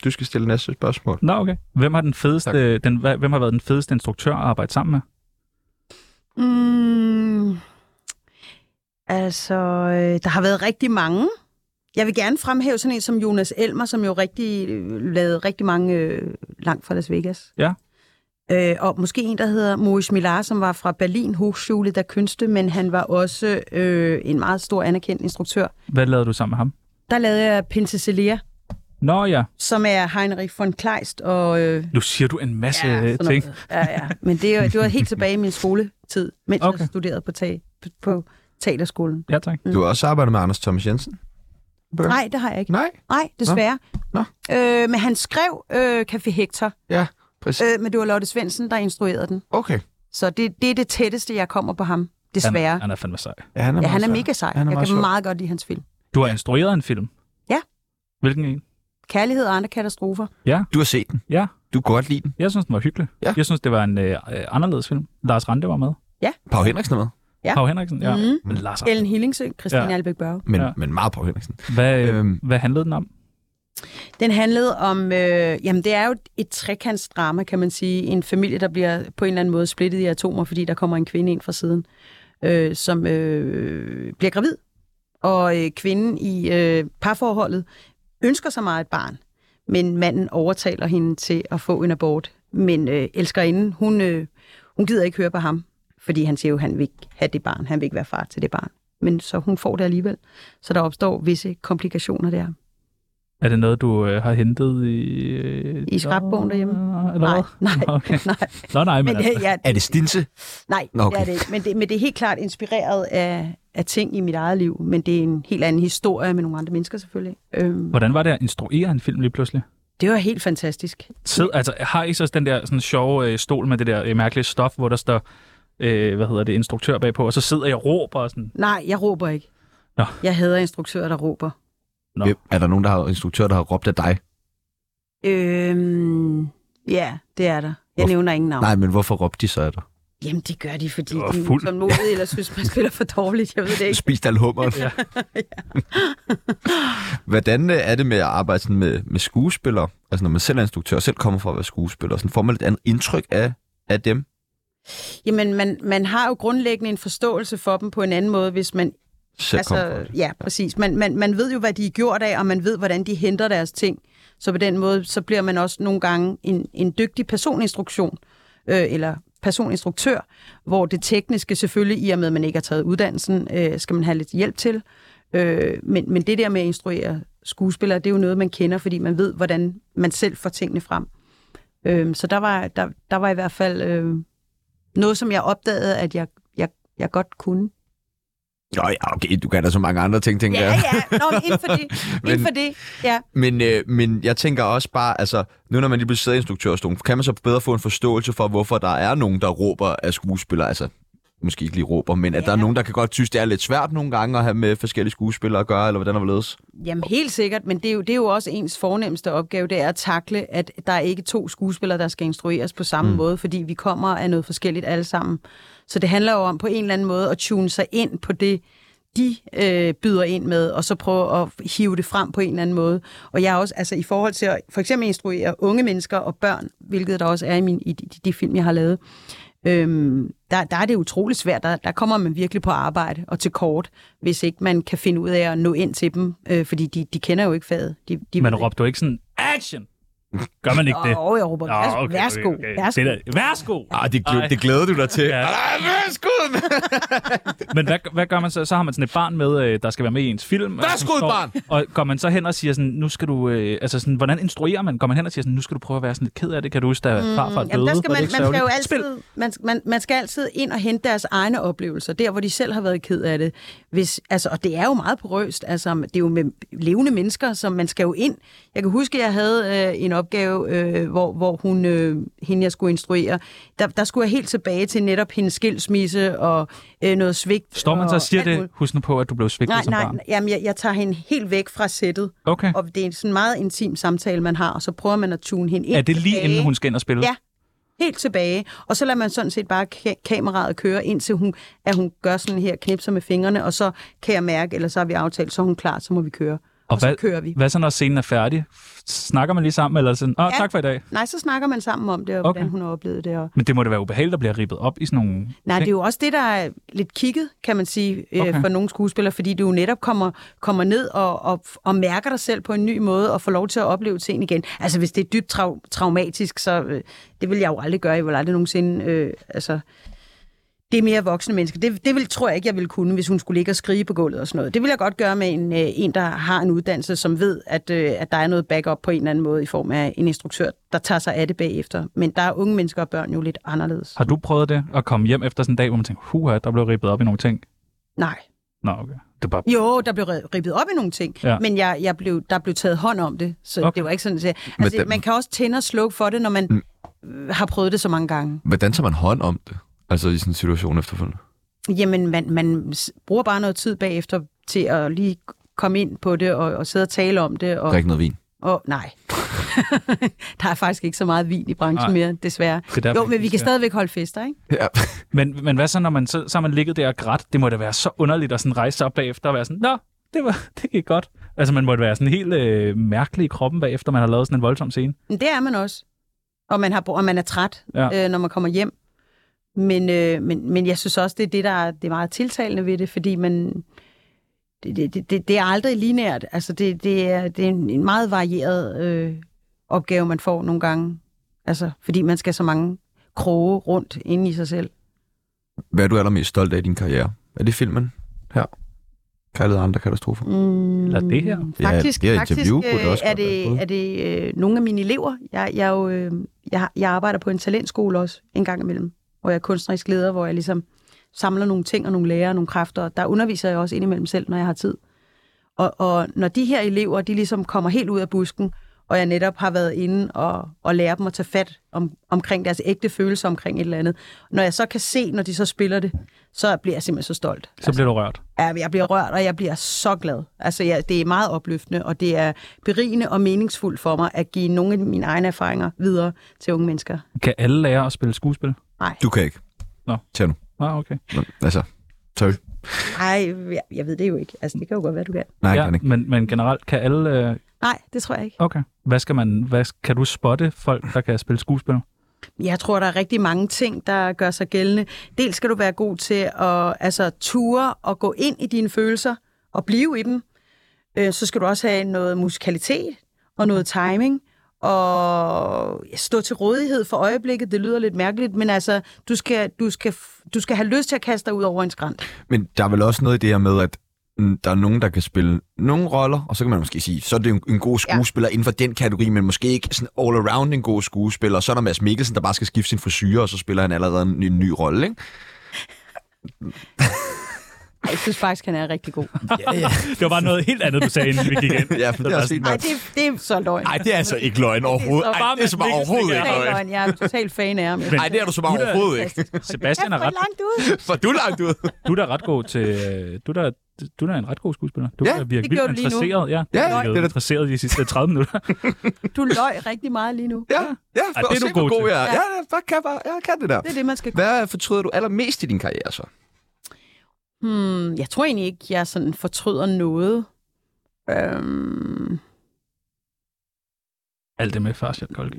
du skal stille næste spørgsmål. Nå, okay. Hvem har, den Tak. fedeste, den, hva- hvem har været den fedeste instruktør at arbejde sammen med? Mm, altså, øh, der har været rigtig mange. Jeg vil gerne fremhæve sådan en som Jonas Elmer, som jo rigtig, øh, lavede rigtig mange øh, langt fra Las Vegas. Ja. Øh, og måske en, der hedder Moritz Millar, som var fra Berlin Hochschule der Künste, men han var også øh, en meget stor anerkendt instruktør. Hvad lavede du sammen med ham? Der lavede jeg Pincelia, Nå ja, som er Heinrich von Kleist og... Øh, nu siger du en masse Ja, ja, sådan ting. noget. Ja, ja. Men det, er- det var helt tilbage i min skoletid, mens okay. Okay. jeg studerede på, tag, på, på teaterskolen. Ja, tak. Du har også arbejdet med Anders Thomas Jensen. Bøger. Mm. Nej, det har jeg ikke. Nej. Nej, desværre. Nå. Øh, men han skrev øh, Café Hector, Ja, præcis. øh, men det var Lotte Svendsen, der instruerede den. Okay. Så det, det er det tætteste, jeg kommer på ham, desværre. Han, han er fandme sej. Ja, han er, ja, han er meget mega sej. Han er jeg meget kan sjov. meget godt lide hans film. Du har instrueret en film. Ja. Hvilken en? Kærlighed og andre katastrofer. sej. Du har set den. Ja. Du kan godt lide den. Jeg synes, den var hyggelig. Ja. Jeg synes, det var en øh, øh, anderledes film. Lars Rante var med. Pau Henriksen er med. Ja. Ja. Hav Henriksen, ja. Mhm. Men Lars Ellen Rante. Hillingsø, Christine Ja. ja. Albeck Børge. Men, Ja. men meget Pau Henriksen. Hvad, øh, Øhm. hvad handlede den om? Den handlede om, øh, jamen det er jo et trekantsdrama, kan man sige. En familie, der bliver på en eller anden måde splittet i atomer, fordi der kommer en kvinde ind fra siden, øh, som øh, bliver gravid. Og øh, kvinden i øh, parforholdet ønsker sig meget et barn, men manden overtaler hende til at få en abort. Men øh, elskerinden, hun, øh, hun gider ikke høre på ham, fordi han siger jo, han vil ikke have det barn, han vil ikke være far til det barn. Men så hun får det alligevel, så der opstår visse komplikationer der. Er det noget, du øh, har hentet i... Øh, I scrapbogen derhjemme? Eller Nej, hvad? nej, Okay. nej. Nå, nej, men, Men, altså, øh, ja, Er det stinse? nej, Nå, okay. det er det ikke. Men det, men det er helt klart inspireret af, af ting i mit eget liv, men det er en helt anden historie med nogle andre mennesker selvfølgelig. Øhm, hvordan var det at instruere en film lige pludselig? det var helt fantastisk. Sid, altså, har I så også den der sådan, sjove øh, stol med det der øh, mærkelige stof, hvor der står, øh, hvad hedder det, instruktør bagpå, og så sidder jeg og råber og sådan, Nej, jeg råber ikke. Nå. Jeg hader instruktører, der råber. Nå. Hvem- Er der nogen der har instruktør, der har råbt af dig? Øhm, ja, det er der. Jeg Hvorfor- nævner ingen navn. Nej, men hvorfor råbte de så af dig? Jamen, det gør de, fordi de var er fuld. utålmodige, eller synes, man spiller for dårligt. Jeg ved det ikke. Spist al hummeren. Ja. Hvordan øh, er det med at arbejde sådan med, med skuespillere? Altså når man selv er instruktør og selv kommer fra at være skuespiller, sådan får man et andet indtryk af, af dem? Jamen, man, man har jo grundlæggende en forståelse for dem på en anden måde, hvis man... Selv altså, kommer fra det. ja, præcis. Man, man, man ved jo, hvad de er gjort af, og man ved, hvordan de henter deres ting. Så på den måde, så bliver man også nogle gange en, en dygtig personinstruktion, øh, eller personinstruktør, hvor det tekniske selvfølgelig, i og med, at man ikke har taget uddannelsen, øh, skal man have lidt hjælp til. Øh, men, men det der med at instruere skuespillere, det er jo noget, man kender, fordi man ved, hvordan man selv får tingene frem. Øhm, så der var, der, der var i hvert fald øh, noget, som jeg opdagede, at jeg, jeg, jeg godt kunne. Nå ja, okay, du kan da så mange andre ting, tænker Ja, jeg. ja, Nå, men inden for det, Men- inden for det ja. Men, øh, men jeg tænker også bare, altså, nu når man lige bliver siddet i instruktørstolen, kan man så bedre få en forståelse for, hvorfor der er nogen, der råber af skuespillere, altså måske ikke lige råber, men at der er nogen, der kan godt synes, det er lidt svært nogle gange at have med forskellige skuespillere at gøre, eller hvordan og hvorledes. Jamen helt sikkert, men det er, jo, det er jo også ens fornemmeste opgave, det er at takle, at der er ikke to skuespillere, der skal instrueres på samme mm. måde, fordi vi kommer af noget forskelligt alle sammen. Så det handler jo om på en eller anden måde at tune sig ind på det, de øh, byder ind med, og så prøve at hive det frem på en eller anden måde. Og jeg er også, altså i forhold til at for eksempel instruere unge mennesker og børn, hvilket der også er i, min, i de, de film, jeg har lavet, Øhm, der, der er det utrolig svært. Der, der kommer man virkelig på arbejde og til kort, hvis ikke man kan finde ud af at nå ind til dem, øh, fordi de, de kender jo ikke faget. De, de Man råbte jo ikke sådan, action! Gør man ikke det? Åh, oh, jeg råber, Nå, værs- værsgo, værsgo. Det der, værsgo! Ah, det, glæ- Ej. det glæder du dig til. Ja. Ej, værsgo, Men hvad, hvad gør man så? Så har man sådan et barn med, øh, der skal være med i ens film. Værsgo, Og- barn! Og går man så hen og siger sådan, nu skal du... Øh, altså sådan, hvordan instruerer man? Går man hen og siger sådan, nu skal du prøve at være sådan lidt ked af det? Kan du huske, da farfar døde? Mm, Jamen, der skal Var man, det man ikke skal jo sørgeligt? altid, man, man, man skal altid ind og hente deres egne oplevelser, der hvor de selv har været ked af det. Hvis, altså, og det er jo meget porøst, altså, det er jo med levende mennesker, som man skal jo ind. Jeg kan huske, at jeg havde øh, en opgave, øh, hvor, hvor hun, øh, hende jeg skulle instruere, der, der skulle jeg helt tilbage til netop hendes skilsmisse og øh, noget svigt. Står man så og siger alt det, muligt. husk nu på, at du blev svigtet Nej, som nej, barn. nej, jamen, jeg, jeg tager hende helt væk fra sættet, Okay. og det er en sådan meget intim samtale, man har, og så prøver man at tune hende ind. Er det lige tilbage. inden hun skal ind og spille? Ja, helt tilbage. Og så lader man sådan set bare ka- kameraet køre, indtil hun, at hun gør sådan her, knipser med fingrene, og så kan jeg mærke, eller så har vi aftalt, så er hun klar, så må vi køre. Og, og så hvad, kører vi. Hvad så, når scenen er færdig? Snakker man lige sammen, eller sådan, åh, oh, Ja. tak for i dag. Nej, så snakker man sammen om det, og Okay. okay. hvordan hun har oplevet det. Og... Men det må da være ubehageligt at blive rippet op i sådan nogle... Nej, ting. det er jo også det, der er lidt kigget, kan man sige, Okay. okay. for nogle skuespillere, fordi du jo netop kommer, kommer ned og, og, og mærker dig selv på en ny måde, og får lov til at opleve ting igen. Altså, hvis det er dybt trau- traumatisk, så øh, det vil jeg jo aldrig gøre. Jeg vil aldrig nogensinde... Øh, altså, det er mere voksne mennesker. Det, det vil, tror jeg ikke, jeg ville kunne, hvis hun skulle ligge og skrige på gulvet og sådan noget. Det vil jeg godt gøre med en, øh, en der har en uddannelse, som ved, at, øh, at der er noget backup på en eller anden måde i form af en instruktør, der tager sig af det bagefter. Men der er unge mennesker og børn jo lidt anderledes. Har du prøvet det, at komme hjem efter sådan en dag, hvor man tænker, huha, der blev rippet op i nogle ting? Nej. Nå, okay. Det er bare... Jo, der blev re- rippet op i nogle ting, Ja. ja. men jeg, jeg blev, der blev taget hånd om det, så Okay. okay. det var ikke sådan, at Men altså, den- man kan også tænde og slukke for det, når man mm. har prøvet det så mange gange. Hvordan tager man hånd om det? Altså i sådan en situation efterfølgende. Jamen, man, man s- bruger bare noget tid bagefter til at lige komme ind på det og, og sidde og tale om det. Og, Drik noget vin. og nej, der er faktisk ikke så meget vin i branchen Nej. nej. mere, desværre. er derfor, Jo, men vi vi kan skal- stadigvæk holde fester, ikke? Ja. Men, men hvad så, når man så, så har man ligget der og grædt? Det må da være så underligt at sådan rejse sig op bagefter og være sådan, nå, det, var, det gik godt. Altså, man måtte være sådan helt øh, mærkelig i kroppen bagefter, man har lavet sådan en voldsom scene. Men det er man også. Og man, har, og man er træt, Ja. ja. øh, når man kommer hjem. Men, øh, men, men jeg synes også, det er det, der er, det er meget tiltalende ved det, fordi man, det, det, det, det er aldrig linært. Altså, det, det, er, det er en en meget varieret øh, opgave, man får nogle gange. Altså, fordi man skal så mange kroge rundt inde i sig selv. Hvad er du allermest stolt af i din karriere? Er det filmen her? Kærlighed og andre katastrofer. Mm, Eller det her. Ja, Faktisk, det her faktisk interview kunne det øh, også er, godt være et bud. det, er det øh, nogle af mine elever. Jeg, jeg, er jo, øh, jeg, jeg arbejder på en talentskole også en gang imellem, hvor jeg er kunstnerisk leder, hvor jeg ligesom samler nogle ting og nogle lærere og nogle kræfter. og Der underviser jeg også indimellem selv, når jeg har tid. Og, og når de her elever, de ligesom kommer helt ud af busken, og jeg netop har været inde og, og lære dem at tage fat om, omkring deres ægte følelser omkring et eller andet. Når jeg så kan se, når de så spiller det, så bliver jeg simpelthen så stolt. Så bliver du rørt. Ja, jeg bliver rørt, og jeg bliver så glad. Altså, ja, det er meget opløftende, og det er berigende og meningsfuldt for mig at give nogle af mine egne erfaringer videre til unge mennesker. Kan alle lære at spille skuespil? Du kan ikke. Nå. Tjerno. Nej, okay. Nå, Altså, sorry. Nej, jeg, jeg ved det jo ikke. Altså, det kan jo godt være, du kan. Nej, ja, ja, kan ikke. men, men generelt, kan alle... Øh, Nej, det tror jeg ikke. okay. Hvad skal man... Hvad, kan du spotte folk, der kan spille skuespil? Jeg tror, der er rigtig mange ting, der gør sig gældende. Dels skal du være god til at altså, ture og gå ind i dine følelser og blive i dem. Øh, Så skal du også have noget musikalitet og noget timing og stå til rådighed for øjeblikket. Det lyder lidt mærkeligt, men altså, du skal, du skal, du skal have lyst til at kaste dig ud over en skrant. Men der er vel også noget i det her med, at mm, der er nogen, der kan spille nogle roller, og så kan man måske sige, så er det en, en god skuespiller ja. inden for den kategori, men måske ikke sådan all around en god skuespiller. Og så er der Mads Mikkelsen, der bare skal skifte sin frisyr, og så spiller han allerede en, en ny rolle, ikke? Ej, Jeg synes faktisk, han er rigtig god. Det var bare noget helt andet, du sagde, inden vi gik ind. Ja, men det er også fint Nej, nok. det, er- det er så løgn. Nej, det er altså ikke løgn overhovedet. Det er så Ej, det er så bare Mads overhovedet Mikkelsen, ikke Total løgn. løgn. Jeg er total fan af ham. Jeg Men- Nej, det er du så bare Hun er- overhovedet ikke. Sebastian er er ret, langt ude. For du er langt ud. du er da ret god til... øh, Du er da, du er da en ret god skuespiller. Du Ja, er virkelig gjorde du lige nu. interesseret. Ja, Ja, du det er er da- interesseret de sidste 30 minutter. Du løg rigtig meget lige nu. Ja, ja. Ej, det er se, du hvor god til. jeg er. Ja, ja, bare kan, bare, jeg kan det der. Det er det, man skal Hvad fortryder du allermest i din karriere så? Hmm, jeg tror egentlig ikke, jeg sådan fortryder noget. Øhm, Alt det med Farshat Kolgi.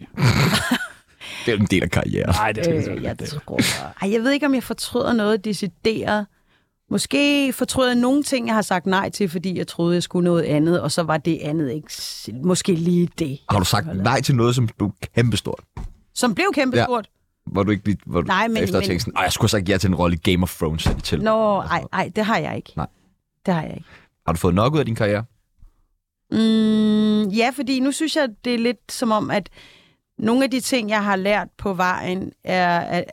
Det er jo en del af karrieren. Nej, det er sgu øh, ikke. jeg, det. tror, ej, jeg ved ikke, om jeg fortryder noget decideret. Måske fortryder jeg nogle ting, jeg har sagt nej til, fordi jeg troede, jeg skulle noget andet, og så var det andet ikke s- måske lige det, Har du sagt nej til noget, som blev kæmpestort? som blev kæmpe Ja. stort. Hvor du ikke lige, hvor du Nej, men- efter har men- tænkt sådan, "Ej, jeg skulle have sagt ja til en rolle i Game of Thrones, er det til. Nå, ej, ej, det har jeg ikke. Nej. Det har jeg ikke. Har du fået nok ud af din karriere? Mm, ja, fordi nu synes jeg, det er lidt som om, at nogle af de ting, jeg har lært på vejen, er, er,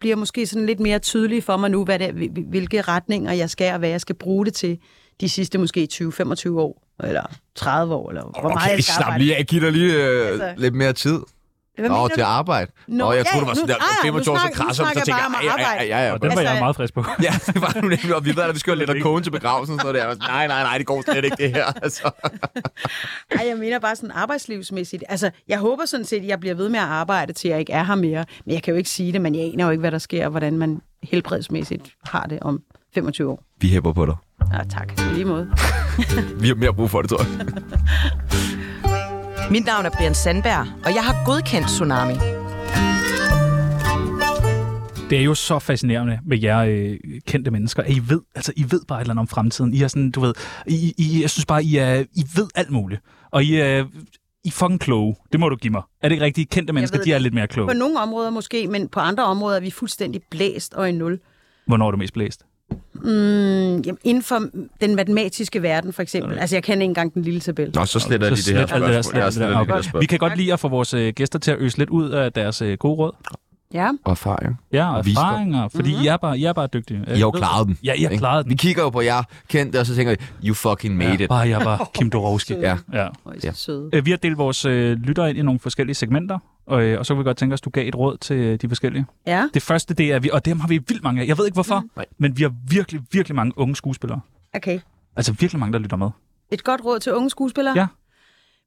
bliver måske sådan lidt mere tydelige for mig nu, hvad det, hvil- hvilke retninger jeg skal, og hvad jeg skal bruge det til de sidste måske 20-25 år, eller 30 år, eller hvor meget jeg skal arbejde. lige, jeg giver dig lige øh, Altså. lidt mere tid. Hvad Nå, mener til du? at arbejde. Nå, jeg troede, det var sådan nu- der, ah, fem nu og to år, så snakker- nu krasser den, så snakker tænker bare jeg, om "Ej, at ej, ej, arbejde." ja, ja, Og den var jeg Altså- meget frisk på. Ja, det var du nemlig, og vi ved, at vi skulle have lidt af kogen til begravelsen, og sådan noget der. Jeg var sådan, Nej, nej, nej, det går slet ikke, det her. Altså. Ej, jeg mener bare sådan arbejdslivsmæssigt. Altså, jeg håber sådan set, at jeg bliver ved med at arbejde, til jeg ikke er her mere. Men jeg kan jo ikke sige det, men jeg aner jo ikke, hvad der sker, og hvordan man helbredsmæssigt har det om 25 år. Vi hæpper på dig. Ja, tak. På lige måde. Vi har mere brug for det, tror jeg. Mit navn er Brian Sandberg, og jeg har godkendt Tsunami. Det er jo så fascinerende med jer øh, kendte mennesker, at I ved, altså, I ved bare et eller andet om fremtiden. I er sådan, du ved, I, I, jeg synes bare, I, er, I ved alt muligt. Og I er, I er fucking kloge. Det må du give mig. Er det ikke rigtigt? Kendte mennesker, ved de er det. lidt mere kloge. På nogle områder måske, men på andre områder er vi fuldstændig blæst og i nul. Hvornår er du mest blæst? Mm, jamen, inden for den matematiske verden, for eksempel. Altså, jeg kender ikke engang den lille tabel. Nå, så sletter Så slet alt det der, slet alt det der. Okay. Vi kan godt lide at få vores øh, gæster til at øse lidt ud af deres øh, gode råd. Ja. Og erfaring. Ja, og Visdom. erfaringer, fordi mm-hmm. I, er bare, I er bare dygtige. I har jo klaret den. Ja, I har ikke? klaret Vi den. kigger jo på jer, kendte, og så tænker vi, you fucking made Ja, it. bare jeg var Kim Dorowski. Ja. ja. Og Ja. ja. søde. Øh, Vi har delt vores øh, lyttere ind i nogle forskellige segmenter, og, øh, og så kunne vi godt tænke os, at du gav et råd til øh, de forskellige. Ja. Det første, det er, vi, og dem har vi vildt mange af. Jeg ved ikke hvorfor, Nej. men vi har virkelig, virkelig mange unge skuespillere. Okay. Altså virkelig mange, der lytter med. Et godt råd til unge skuespillere? Ja.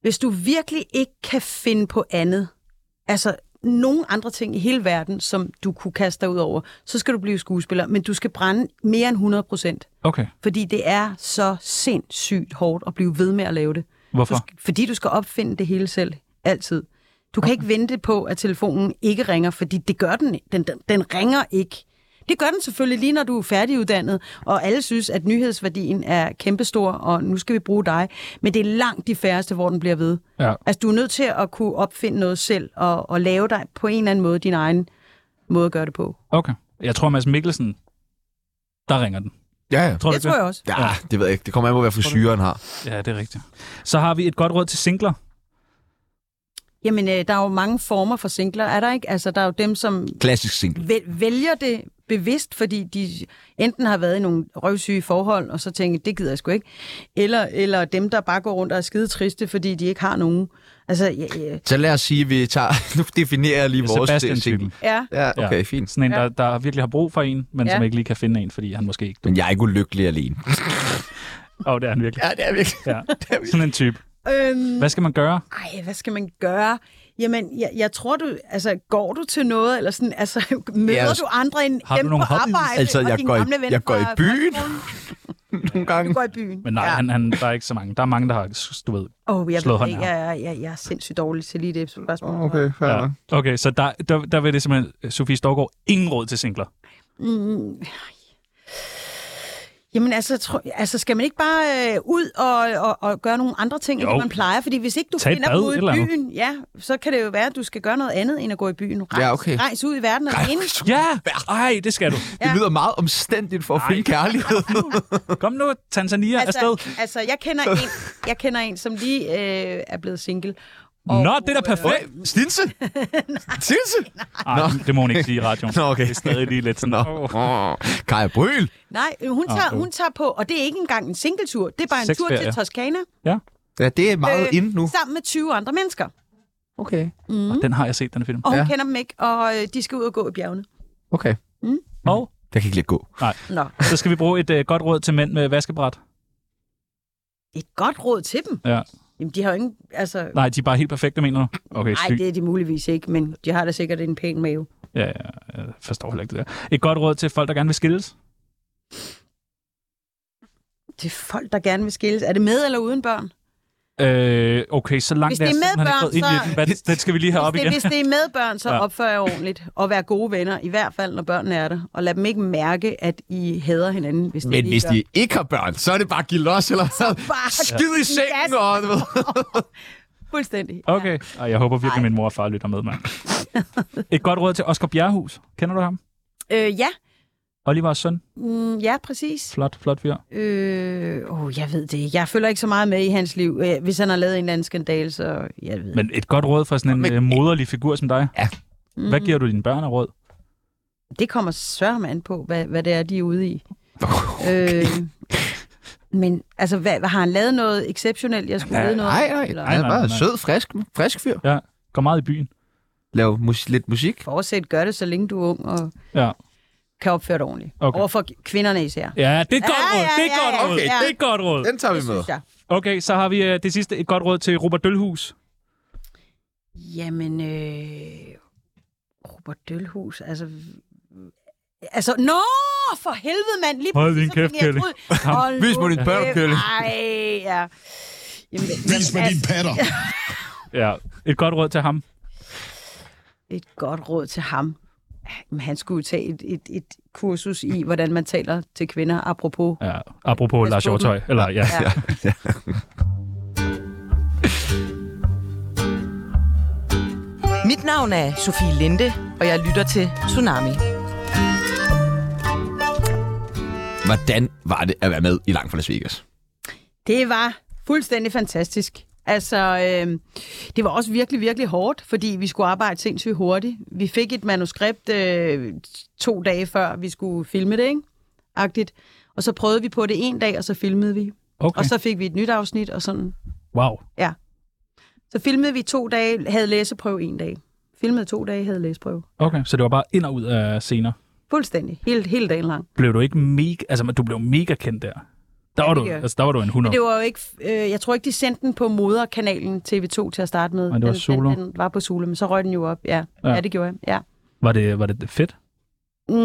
Hvis du virkelig ikke kan finde på andet, altså nogen andre ting i hele verden, som du kunne kaste dig ud over, så skal du blive skuespiller, men du skal brænde mere end 100 procent. Okay, Fordi det er så sindssygt hårdt at blive ved med at lave det. hvorfor? Du skal, fordi du skal opfinde det hele selv. Altid. Du kan ikke vente på, at telefonen ikke ringer, fordi det gør den. Den, den, den ringer ikke. Det gør den selvfølgelig lige, når du er færdiguddannet, og alle synes, at nyhedsværdien er kæmpestor, og nu skal vi bruge dig. Men det er langt de færreste, hvor den bliver ved. Ja. Altså, du er nødt til at kunne opfinde noget selv, og, og lave dig på en eller anden måde din egen måde at gøre det på. Okay. Jeg tror, Mads Mikkelsen, der ringer den. Ja, ja. Tror du Det tror det? jeg også. Ja, det ved jeg ikke. Det kommer an på, hvad for syre han har. Ja, det er rigtigt. Så har vi et godt råd til singler. Jamen, øh, der er jo mange former for singler, er der ikke? Altså, der er jo dem, som Klassisk single. væl- vælger det bevidst, fordi de enten har været i nogle røvsyge forhold, og så tænker, det gider jeg sgu ikke. Eller, eller dem, der bare går rundt og er skide triste, fordi de ikke har nogen. Altså, ja, ja. Så lad os sige, at vi tager... Nu definerer jeg lige vores øh, Sebastian-typen. ja. Ja, Ja. okay, fint. Sådan en, Ja. der, der virkelig har brug for en, men ja. Ja. som ikke lige kan finde en, fordi han måske ikke... Men jeg er ikke ulykkelig alene. Åh, oh, det er han virkelig. Ja, det er virkelig. Ja. Sådan en type. Øhm, Hvad skal man gøre? ej, hvad skal man gøre? Jamen, jeg, jeg tror du, altså, går du til noget, eller sådan, altså, møder Ja, du andre end har dem du nogle på hobbies? arbejde? Altså, og jeg din går i- gamle ven jeg går i fra- byen. fra skolen? Nogle Du gange. går i byen. Men nej, ja. han, han, der er ikke så mange. Der er mange, der har, du ved... Oh, jeg, slået ved, hånden ikke, af jeg, jeg, jeg, jeg er sindssygt dårlig til lige det spørgsmål. fair Ja. Okay, så der, der, der vil det simpelthen... Sofie Storgård, ingen råd til singler. Mm. Jamen altså, tro, altså, skal man ikke bare øh, ud og, og, og gøre nogle andre ting, end Jo. det, man plejer? Fordi hvis ikke du Tag et finder bad, dem ude i eller andet. byen, ja, så kan det jo være, at du skal gøre noget andet, end at gå i byen. Rejs, Ja, okay. rejs ud i verden og ind. Ja! Ej, det skal du. Det Ja. lyder meget omstændigt for at Ej. finde kærlighed. Kom nu, Tanzania altså, afsted. Altså, altså jeg, kender en, jeg kender en, som lige øh, er blevet single. Nå, det er da perfekt. Stinse! Stinse! Ej, det må hun ikke sige i radioen. Nå, okay. Det er stadig lige lidt sådan... Nå. Oh. Oh. Kaja Bryl! Nej, hun Ah, tager, okay. hun tager på, og det er ikke engang en singletur. Det er bare en tur Sexferie. til Toskana Ja, det er meget Øh, øh, inde nu. sammen med 20 andre mennesker. Mhm. Okay, Og den har jeg set, den film. Og hun Ja. ja. kender dem ikke, og øh, de skal ud og gå i bjergene. okay. Og Jeg kan ikke lide at gå. Nå, så skal vi bruge et øh, godt råd til mænd med vaskebræt. et godt råd til dem. Ja. Jamen, de har jo ingen... Altså, nej, Nej, de er bare helt perfekte, mener du? Okay, sygt. det er de muligvis ikke, men de har da sikkert en pæn mave. Ja, ja, jeg forstår heller ikke det der. Et godt råd til folk, der gerne vil skilles. Det er folk, der gerne vil skilles. Er det med eller uden børn? Øh, okay, så langt Hvis det er jeg med simpelthen ikke børn, gået ind i så- den. Hvad, den skal vi lige have op hvis, det, igen. hvis det er med børn, så Ja. ja. opfør jer ordentligt og vær gode venner, i hvert fald når børnene er der. Og lad dem ikke mærke, at I hader hinanden, hvis det Men ikke hvis gør. de ikke har børn, så er det bare at give los, eller så bare skid i sengen, og du ved. Fuldstændig. Okay, Ej, jeg håber virkelig, min mor og far lytter med, mand. Et godt råd til Oscar Bjerrehus. Kender du ham? Ja, øh, ja. Olivers søn. Mm, ja præcis. Flot, flot fyr. Øh, oh, jeg ved det ikke. Jeg følger ikke så meget med i hans liv. Øh, Hvis han har lavet en eller anden skandale, så jeg ved Men et godt råd fra sådan en Men- Men... moderlig figur som dig. Ja. Mm. Hvad giver du dine børn af råd? Det kommer sørme an på, hvad, hvad det er, de er ude i. Okay. Øh, men altså, hvad, hvad, har han lavet noget exceptionelt? Jeg skulle Nej, vide noget? Nej, nej, Eller? nej. Han er nej, bare nej. sød, frisk, frisk fyr. Går meget i byen. Lav mus- lidt musik. Fortsæt, gør det, så længe du er ung og Ja. kan opføre dig ordentligt. Okay. Okay. Overfor kvinderne især. Ja, det er et godt Ja, ja, råd. Det er et ja, godt ja, råd. okay. Det er et godt råd. Den tager vi Det med. synes jeg. Okay, så har vi øh, det sidste. Et godt råd til Robert Dølhus. Jamen, øh, Robert Dølhus, altså... Altså, nå, for helvede, mand! Lige Hold præcis, din så fik kæft, jeg et Kjeld. ud. Hold Vis nu mig dit børn, kæft. Kjeld. Ej, ja. Jamen, Vis mig jamen, dine patter. Ja, et godt råd til ham. et godt råd til ham. Jamen, Han skulle tage et, et, et kursus i, hvordan man taler til kvinder, apropos. Ja, apropos Pas Lars på dem. Hjortøj. Eller, ja. Ja. Mit navn er Sofie Linde, og jeg lytter til Tsunami. Hvordan var det at være med i Langt fra Las Vegas? Det var fuldstændig fantastisk. Altså, øh, det var også virkelig, virkelig hårdt, fordi vi skulle arbejde sindssygt hurtigt. Vi fik et manuskript øh, to dage før, vi skulle filme det, ikke? Agtigt. Og så prøvede vi på det en dag, og så filmede vi. Okay. Okay. Og så fik vi et nyt afsnit, og sådan. Wow. Så filmede vi to dage, havde læseprøve en dag. Filmede to dage, havde læseprøve. Okay, så det var bare ind og ud af scener. Fuldstændig. Hele, hele dagen lang. Blev du ikke mega... Altså, men du blev mega kendt der. Der var, det du, gjorde jeg. altså, der var du en 100. Det var jo ikke, øh, jeg tror ikke, de sendte den på moderkanalen TV2 til at starte med. Nej, det var Den- den, Zulu. Den, var på Solo, men så røg den jo op. Ja, Ja. ja. ja det gjorde jeg. Ja. Var det, var det fedt? Mm,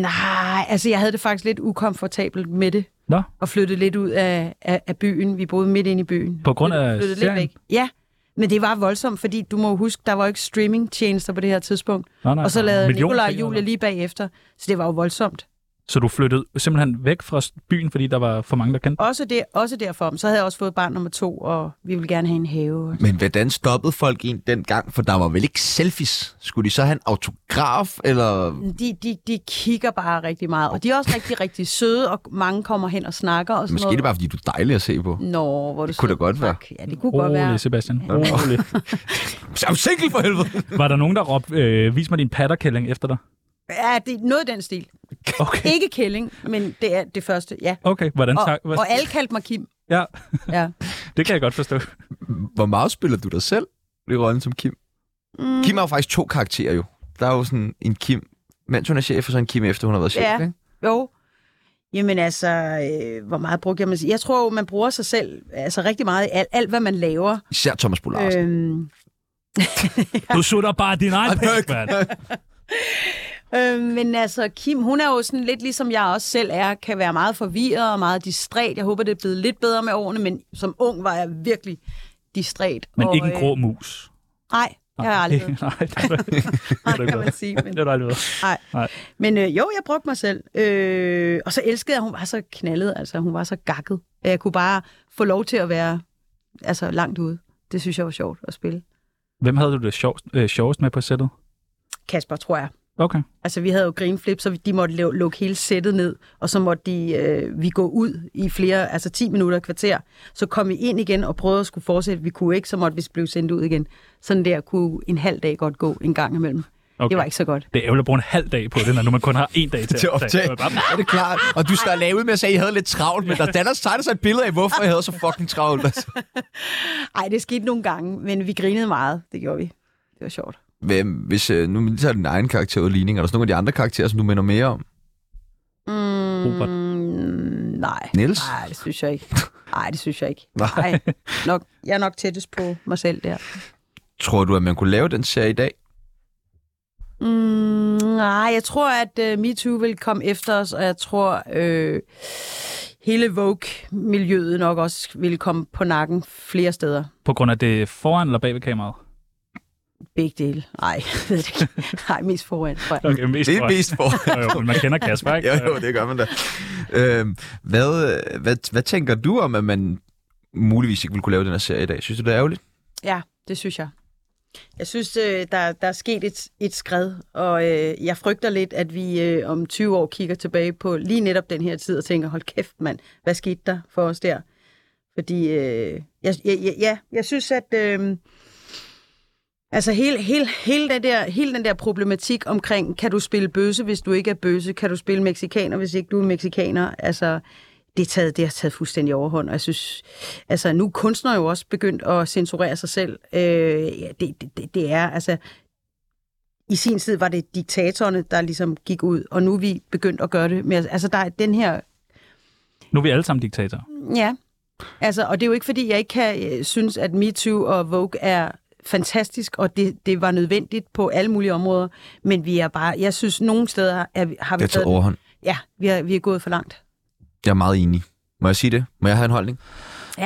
nej, altså jeg havde det faktisk lidt ukomfortabelt med det. Nå. Og flyttede lidt ud af, af, af byen. Vi boede midt inde i byen. På grund af Flyttede lidt serien? væk. Ja, men det var voldsomt, fordi du må jo huske, der var jo ikke streamingtjenester på det her tidspunkt. Nej, nej. Og så lavede Millioner Nikolaj og ting, Julie eller? lige bagefter, så det var jo voldsomt. Så du flyttede simpelthen væk fra byen, fordi der var for mange, der kendte dig? Også, det, også derfor. Så havde jeg også fået barn nummer to, og vi ville gerne have en have. Men hvordan stoppede folk en dengang? For der var vel ikke selfies? Skulle de så have en autograf, eller... De, de, de kigger bare rigtig meget, og de er også rigtig, rigtig søde, og mange kommer hen og snakker og sådan Måske er noget. det bare, fordi du er dejlig at se på. Nå, hvor du Kunne sød. det godt være. Fuck, Ja, det kunne godt være. Rolig, Sebastian. Rolig. Så er du single for helvede! Var der nogen, der råbte, øh, vis mig din patterkælling efter dig? Ja, det er noget af den stil. Okay. Ikke kælling, men det er det første, ja. Okay, hvordan Og, tak? og alle kaldte mig Kim. Ja, Ja. det kan jeg godt forstå. Hvor meget spiller du dig selv i rollen som Kim? Mm. Kim har jo faktisk to karakterer jo. Der er jo sådan en Kim, mens hun er chef, og så en Kim efter hun har været chef, Ja. ikke? Jo. Jamen altså, øh, hvor meget brugte jeg mig? Jeg tror jo, man bruger sig selv altså rigtig meget i alt, alt hvad man laver. Især Thomas Bolars. Øh. Øhm, Du sutter bare din egen pæk, mand. øhm, men altså, Kim, hun er jo sådan lidt ligesom jeg også selv er, kan være meget forvirret og meget distræt. Jeg håber, det er blevet lidt bedre med årene, men som ung var jeg virkelig distræt. Men og, ikke en øh, grå mus. Nej, jeg har aldrig været. Nej, det har du ikke. Det har Nej, du kan ikke man været. sige. Men, Det har du aldrig været. nej. Nej. men øh, jo, jeg brugte mig selv. Øh, og så elskede jeg, hun var så knaldet, altså hun var så gakket. Jeg kunne bare få lov til at være altså, langt ude. Det synes jeg var sjovt at spille. Hvem havde du det sjovest, øh, sjovest med på sættet? Kasper, tror jeg. Okay. Altså, vi havde jo grinflip, så de måtte lu- lukke hele sættet ned, og så måtte de, øh, vi gå ud i flere, altså 10 minutter et kvarter. Så kom vi ind igen og prøvede at skulle fortsætte. Vi kunne ikke, så måtte vi blive sendt ud igen. Sådan der kunne en halv dag godt gå en gang imellem. Okay. Okay. Det var ikke så godt. Det er ærgerligt at bruge en halv dag på det, når nu man kun har en dag til Til optag. optage. Bare- Er det klart? Og du står lavet med at sige, at I havde lidt travlt, men der danner tegner sig et billede af, hvorfor jeg havde så fucking travlt. Altså. Ej, det skete nogle gange, men vi grinede meget. Det gjorde vi. Det var sjovt. Hvem, hvis øh, nu man tager din egen karakter ud af ligning, er der så nogle af de andre karakterer, som du minder mere om? Robert. Mm, nej. Niels? Nej, det synes jeg ikke. Nej, det synes jeg ikke. Nej. Nej. Nok, jeg er nok tættest på mig selv der. Tror du, at man kunne lave den serie i dag? Mm, nej, jeg tror, at øh, MeToo vil komme efter os, og jeg tror, øh, hele Vogue-miljøet nok også vil komme på nakken flere steder. På grund af det foran eller bag ved kameraet? Begge dele. Nej, jeg ved det ikke. Nej, mest foran, tror jeg. Okay, mest Det er foran. mest for. Jo, jo, men man kender Kasper, ikke? jo, jo, det gør man da. Øhm, hvad, øh, hvad, hvad tænker du om, at man muligvis ikke ville kunne lave den her serie i dag? Synes du, det er ærgerligt? Ja, det synes jeg. Jeg synes, øh, der, der er sket et, et skred, og øh, jeg frygter lidt, at vi øh, om 20 år kigger tilbage på lige netop den her tid og tænker, hold kæft mand, hvad skete der for os der? Fordi, øh, jeg, jeg, jeg, ja, jeg synes, at øh, altså hele, hele, hele, den der, hele den der problematik omkring, kan du spille bøsse, hvis du ikke er bøsse? Kan du spille mexikaner, hvis ikke du er mexikaner? Altså, det, er taget, det har taget fuldstændig overhånd, og jeg synes, altså nu er kunstnere jo også begyndt at censurere sig selv. Øh, ja, det, det- det, det er, altså, i sin tid var det diktatorerne, der ligesom gik ud, og nu er vi begyndt at gøre det. Med, altså, der er den her Nu er vi alle sammen diktatorer. Ja, altså, og det er jo ikke, fordi jeg ikke kan øh, synes, at MeToo og Vogue er fantastisk, og det, det var nødvendigt på alle mulige områder, men vi er bare, jeg synes, nogle steder er, vi- har vi Det er taget taget, overhånd. ja, vi er, vi er gået for langt. Jeg er meget enig. Må jeg sige det? Må jeg have en holdning? Ja,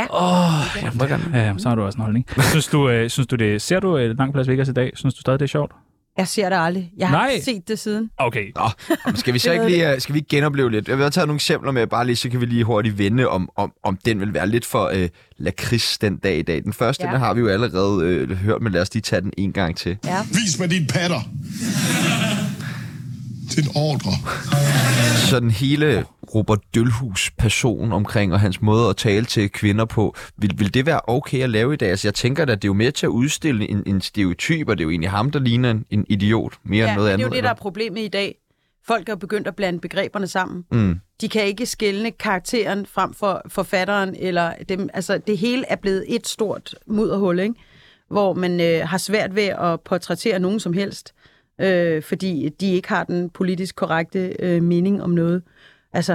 ja, så har du også en holdning. Synes du, øh, synes du det, ser du øh, langt plads Vegas i dag? Synes du stadig, det er sjovt? Jeg ser det aldrig. Jeg har Nej. ikke set det siden. Okay. Nå, men skal vi så Det ikke ved lige, øh, skal vi ikke genopleve lidt? Jeg har taget nogle eksempler med, bare lige, så kan vi lige hurtigt vende, om, om, om den vil være lidt for øh, lakrids den dag i dag. Den første, ja. Ja. den har vi jo allerede øh, hørt, men lad os lige tage den en gang til. Ja. Vis mig dine patter. Det er en ordre. Sådan hele Robert Dølhus person omkring, og hans måde at tale til kvinder på, vil, vil det være okay at lave i dag? Altså, jeg tænker da, det er jo mere til at udstille en, en stereotyp, og det er jo egentlig ham, der ligner en, en idiot, mere Ja, end noget det er andet. jo det, der er problemet i dag. Folk er begyndt at blande begreberne sammen. Mm. De kan ikke skelne karakteren frem for forfatteren. Eller dem. Altså, det hele er blevet et stort mudderhul, ikke? hvor man øh, har svært ved at portrættere nogen som helst, øh, fordi de ikke har den politisk korrekte øh, mening om noget. Altså,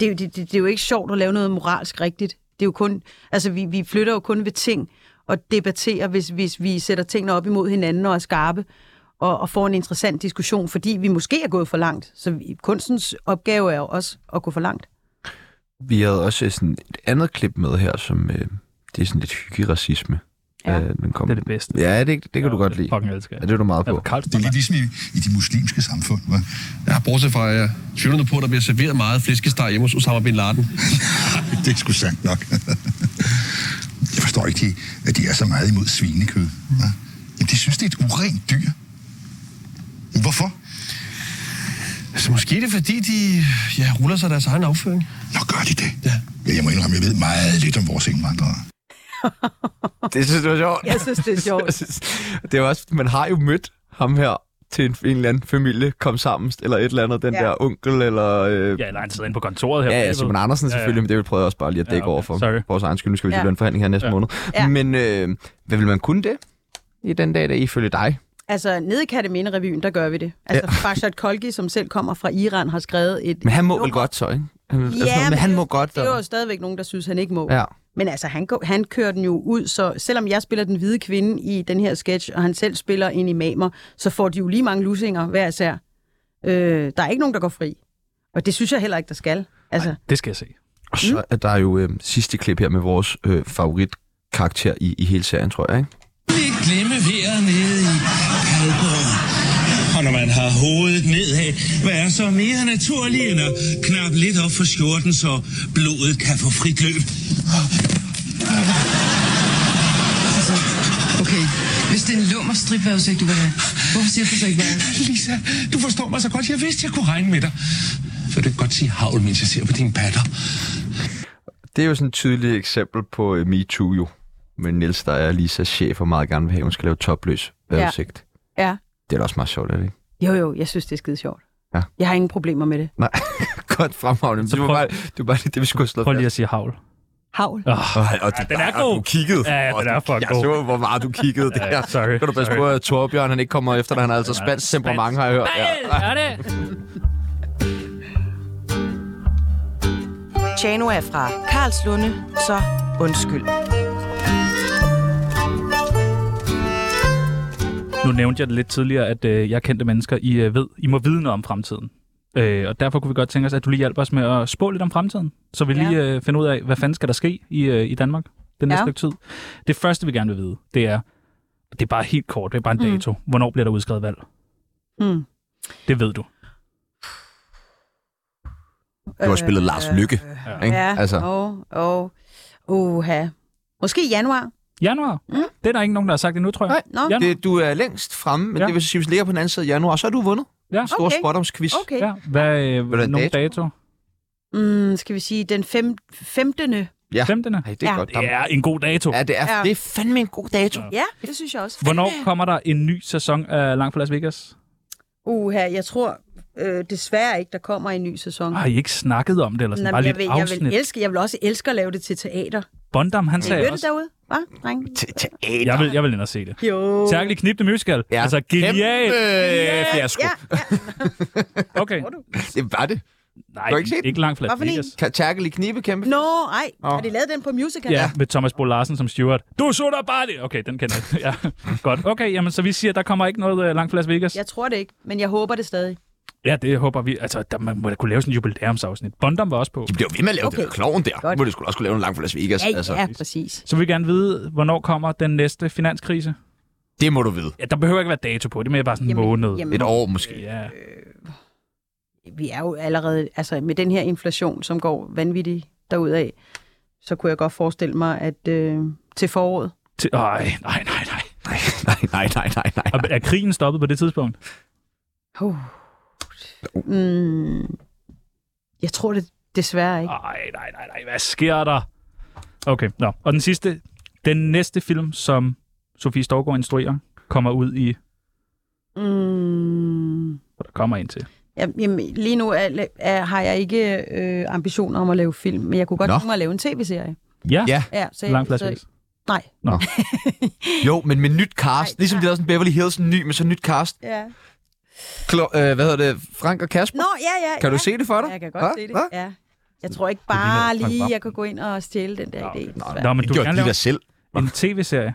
det, er jo- det, det, det er jo ikke sjovt at lave noget moralsk rigtigt. Det er jo kun, altså vi, vi flytter jo kun ved ting og debatterer, hvis, hvis vi sætter tingene op imod hinanden og er skarpe og, og får en interessant diskussion, fordi vi måske er gået for langt. Så vi, kunstens opgave er jo også at gå for langt. øh, Vi havde også sådan et andet klip med her, som øh, det er sådan lidt hyggelig racisme. Ja, øh, den kom. Det er det bedste. Ja, det, det kan du godt lide. Fucking elsker. Ja, det er du meget Ja, på. Carlsen, Det er lidt ligesom i, i de muslimske samfund, hva? Ja, bortset fra, jeg tvivler nu på, at der bliver serveret meget flæskesteg hjemme hos Osama Bin Laden. Det er sgu sandt nok. Jeg forstår ikke, de, at de er så meget imod svinekød. Ja? Jamen, de synes, det er et urent dyr. Hvorfor? Så måske er det, fordi de ja, ruller sig deres egen afføring. Nå, gør de det? Ja. ja jeg må indrømme, jeg ved meget lidt om vores indvandrere. Det synes jeg var sjovt. Jeg synes, det er sjovt. Jeg synes, det er jo også, man har jo mødt ham her til en, en eller anden familie, kom sammen, eller et eller andet, den Ja. ja. der onkel, eller... Øh, ja. Ja, eller han sidder inde på kontoret her. Ja, Simon Andersen selvfølgelig, ja, ja. men det vil prøve jeg også bare lige at Ja, dække ja, okay. okay. over for Sorry. vores egen skyld. Nu skal vi Ja. til ja. en forhandling her næste Ja. ja. måned. Ja. Ja. Men øh, hvad vil man kunne det i den dag, der ifølge dig? Altså, nede i Katamine-revyen, der gør vi det. Altså, ja. Farshad Kolgi, som selv kommer fra Iran, har skrevet et... Men han må vel nummer. godt så, ikke? Han, ja, Ja, men han det er må jo- godt. Det er og- jo stadigvæk nogen, der synes, han ikke må. Ja. Men altså, han, går, han kører den jo ud, så selvom jeg spiller den hvide kvinde i den her sketch, og han selv spiller en imamer, så får de jo lige mange lusinger hver især. Øh, der er ikke nogen, der går fri. Og det synes jeg heller ikke, der skal. Altså, Det skal jeg se. Og Mm. så er der jo øh, sidste klip her med vores øh, favoritkarakter i, i hele serien, tror jeg, ikke? ikke glemme vejret nede i Padborg. Og når man har hovedet nedad, hvad er så mere naturligt end at knappe lidt op for skjorten, så blodet kan få frit løb? Okay, hvis det er en lummer stripvævsigt, du vil have, hvorfor siger du så ikke hvad? Lisa, du forstår mig så godt. Jeg vidste, jeg kunne regne med dig. Så du kan godt sige havl, mens jeg ser på dine patter. Det er jo sådan et tydeligt eksempel på øh, MeToo jo. Men Niels, der er Lisas chef og meget gerne vil have, at hun skal lave topløs vejrudsigt. Ja. Ja. Det er da også meget sjovt, er det ikke? jo jo, jeg synes, det er skide sjovt. Ja. Jeg har ingen problemer med det. Nej, godt fremragende. Så Så det, var prøv- bare, det var bare lige det, vi skulle have slået Prøv lige fast. at sige havl. Havl. Ej, og den er ej, god. Du kiggede. Ja, ja, den er fucking jeg god. så, hvor meget du kiggede der. Ja, sorry, Kan du passe sorry. på, at Torbjørn han ikke kommer efter dig? Han er altså spansk temperament, har jeg hørt. Ja. Er det? Chano er fra Karlslunde, så undskyld. Nu nævnte jeg det lidt tidligere, at øh, jeg kendte mennesker, I, øh, ved, I må vide noget om fremtiden. Øh, og derfor kunne vi godt tænke os, at du lige hjælper os med at spå lidt om fremtiden, så vi Ja. ja. lige øh, finder ud af, hvad fanden skal der ske i, øh, i Danmark den Ja. næste ja. stykke tid. Det første, vi gerne vil vide, det er, det er bare helt kort, det er bare en dato. Hvornår bliver der udskrevet valg? Mm. Det ved du. Du har spillet Lars Lykke, ikke? Øh, Ja, Altså, åh, åh, uha. Måske i januar. Januar. Mm. Det er der ikke nogen, der har sagt endnu, tror jeg. Nej, nå. Januar. det, du er længst fremme, men Ja. ja. det vil sige, hvis du ligger på den anden side af januar, så har du vundet. Ja. Stor Okay. okay. spottomsquiz. Okay. Ja. Ja. Hvad, øh, er en nogle dato? dato? Mm, skal vi sige den fem, 15. Ja. 15. Ej, det er Ja. godt. Det er en god dato. Ja, det er, Ja. det er fandme en god dato. Ja, det synes jeg også. Hvornår kommer der en ny sæson af Langt fra Las Vegas? Uha, jeg tror øh, desværre ikke, der kommer en ny sæson. Har I ikke snakket om det, eller sådan Nå, bare men jeg, lidt vil, jeg, afsnit? vil elske, jeg vil også elske at lave det til teater. Bondam, han Hører sagde det også, derude? Hva, drenge? Teater. jeg vil, jeg vil ind og se det. Jo. Tærkelig Knip the Musical. Ja. Altså, genialt. Kæmpe fiasko. Ja, ja. Okay. Det var det. Nej, Du har ikke set den? ikke langt fra Las Hvad for en? Vegas. Tærkelig knibe, kæmpe Nå, ej. Åh. Har de lavet den på musical? Ja, med Thomas Bo Larsen som steward. Du så der bare det. Okay, den kender jeg. Ja, godt. Okay, jamen, så vi siger, at der kommer ikke noget øh, langt fra Las Vegas. Jeg tror det ikke, men jeg håber det stadig. Ja, det håber vi. Altså, der, man må da kunne lave sådan en jubilæumsafsnit. Bondam var også på. De bliver jo ved med at lave Okay. okay. det der kloven der. Godt. Godt. Må de skulle også kunne lave en lang for Las Vegas. Ja, altså. ja, præcis. Så vil vi gerne vide, hvornår kommer den næste finanskrise? Det må du vide. Ja, der behøver ikke være dato på. Det er mere bare sådan en Jamen, måned. jamen. Øh, Et år måske. Ja. Vi er jo allerede, altså med den her inflation, som går vanvittigt derudad, så kunne jeg godt forestille mig, at øh, til foråret. Til, ej, nej, nej, nej. Nej, nej, nej, nej, nej, nej. Og er krigen stoppet på det tidspunkt? Oh. Mm, jeg tror det desværre ikke. Nej, nej, nej, nej. Hvad sker der? Okay, nå. Og den sidste, den næste film, som Sofie Storgård instruerer, kommer ud i, Ah. Mm. hvor der kommer en til. Jamen, jamen, lige nu er, er, har jeg ikke øh, ambitioner om at lave film, men jeg kunne godt Nå. tænke mig at lave en tv-serie. Ja, ja. Ja. Ja, så, langt plads. så, Nej. Jo, men med nyt cast. Nej, ligesom nej. de lavede sådan Beverly Hills, en ny med så nyt cast. Ja. Klo, øh, hvad hedder det? Frank og Kasper? Nå, ja, ja. Kan ja. du se det for dig? Ja, jeg kan godt se det. Ja. Jeg tror ikke ligner bare Frank lige, Hvam. jeg kan gå ind og stjæle den der Nå, idé. nå, desværre. Nå, men Det du kan gjorde gerne de lave der selv. en tv-serie.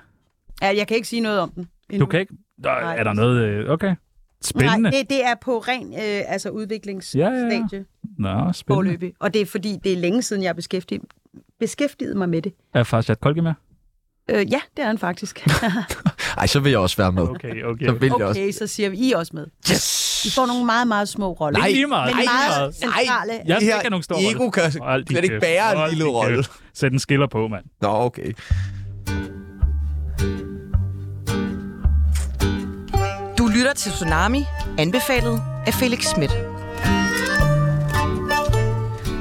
Ja, jeg kan ikke sige noget om den. Du endnu. kan ikke... Der, Nej. er der noget... øh, Okay. Spændende. Nej, det, det er på ren øh, altså udviklingsstadie Ja, ja, ja. Nå, spændende. forløbig. Og det er fordi, det er længe siden, jeg har beskæftiget, beskæftiget mig med det. Er Farshad Kolke med? Øh, ja, det er han faktisk. Ej, så vil jeg også være med. Okay, okay. Så vil jeg også. okay, så siger vi, I er også med. Yes! I får nogle meget, meget små roller. Nej, Ikke lige meget, Men ikke lige meget meget. centrale. Det Jeg skal her ikke have nogen stor ego rolle. kan Hold din slet ikke kæft. bære en Hold lille din rolle. kæft. Sæt en skiller på, mand. Nå, okay. Du lytter til Tsunami, anbefalet af Felix Schmidt.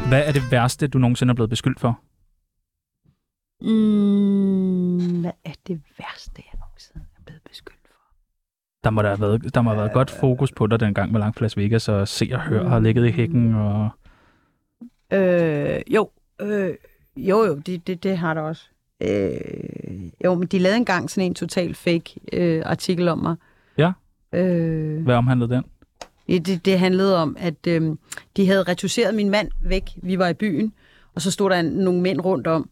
Hvad er det værste, du nogensinde er blevet beskyldt for? Mm, hvad er det værste, jeg nogensinde er blevet beskyldt for? Der må, der, have været, der må have været godt fokus på dig dengang med Langt Las Vegas, og se og hør har ligget i hækken. Og... Øh, jo, øh, jo, jo, det, det, det har der også. Øh, jo, men de lavede engang sådan en total fake øh, artikel om mig. Ja, Øh, hvad omhandlede den? det, det- det handlede om, at øh, de havde reduceret min mand væk. Vi var i byen, og så stod der en, nogle mænd rundt om.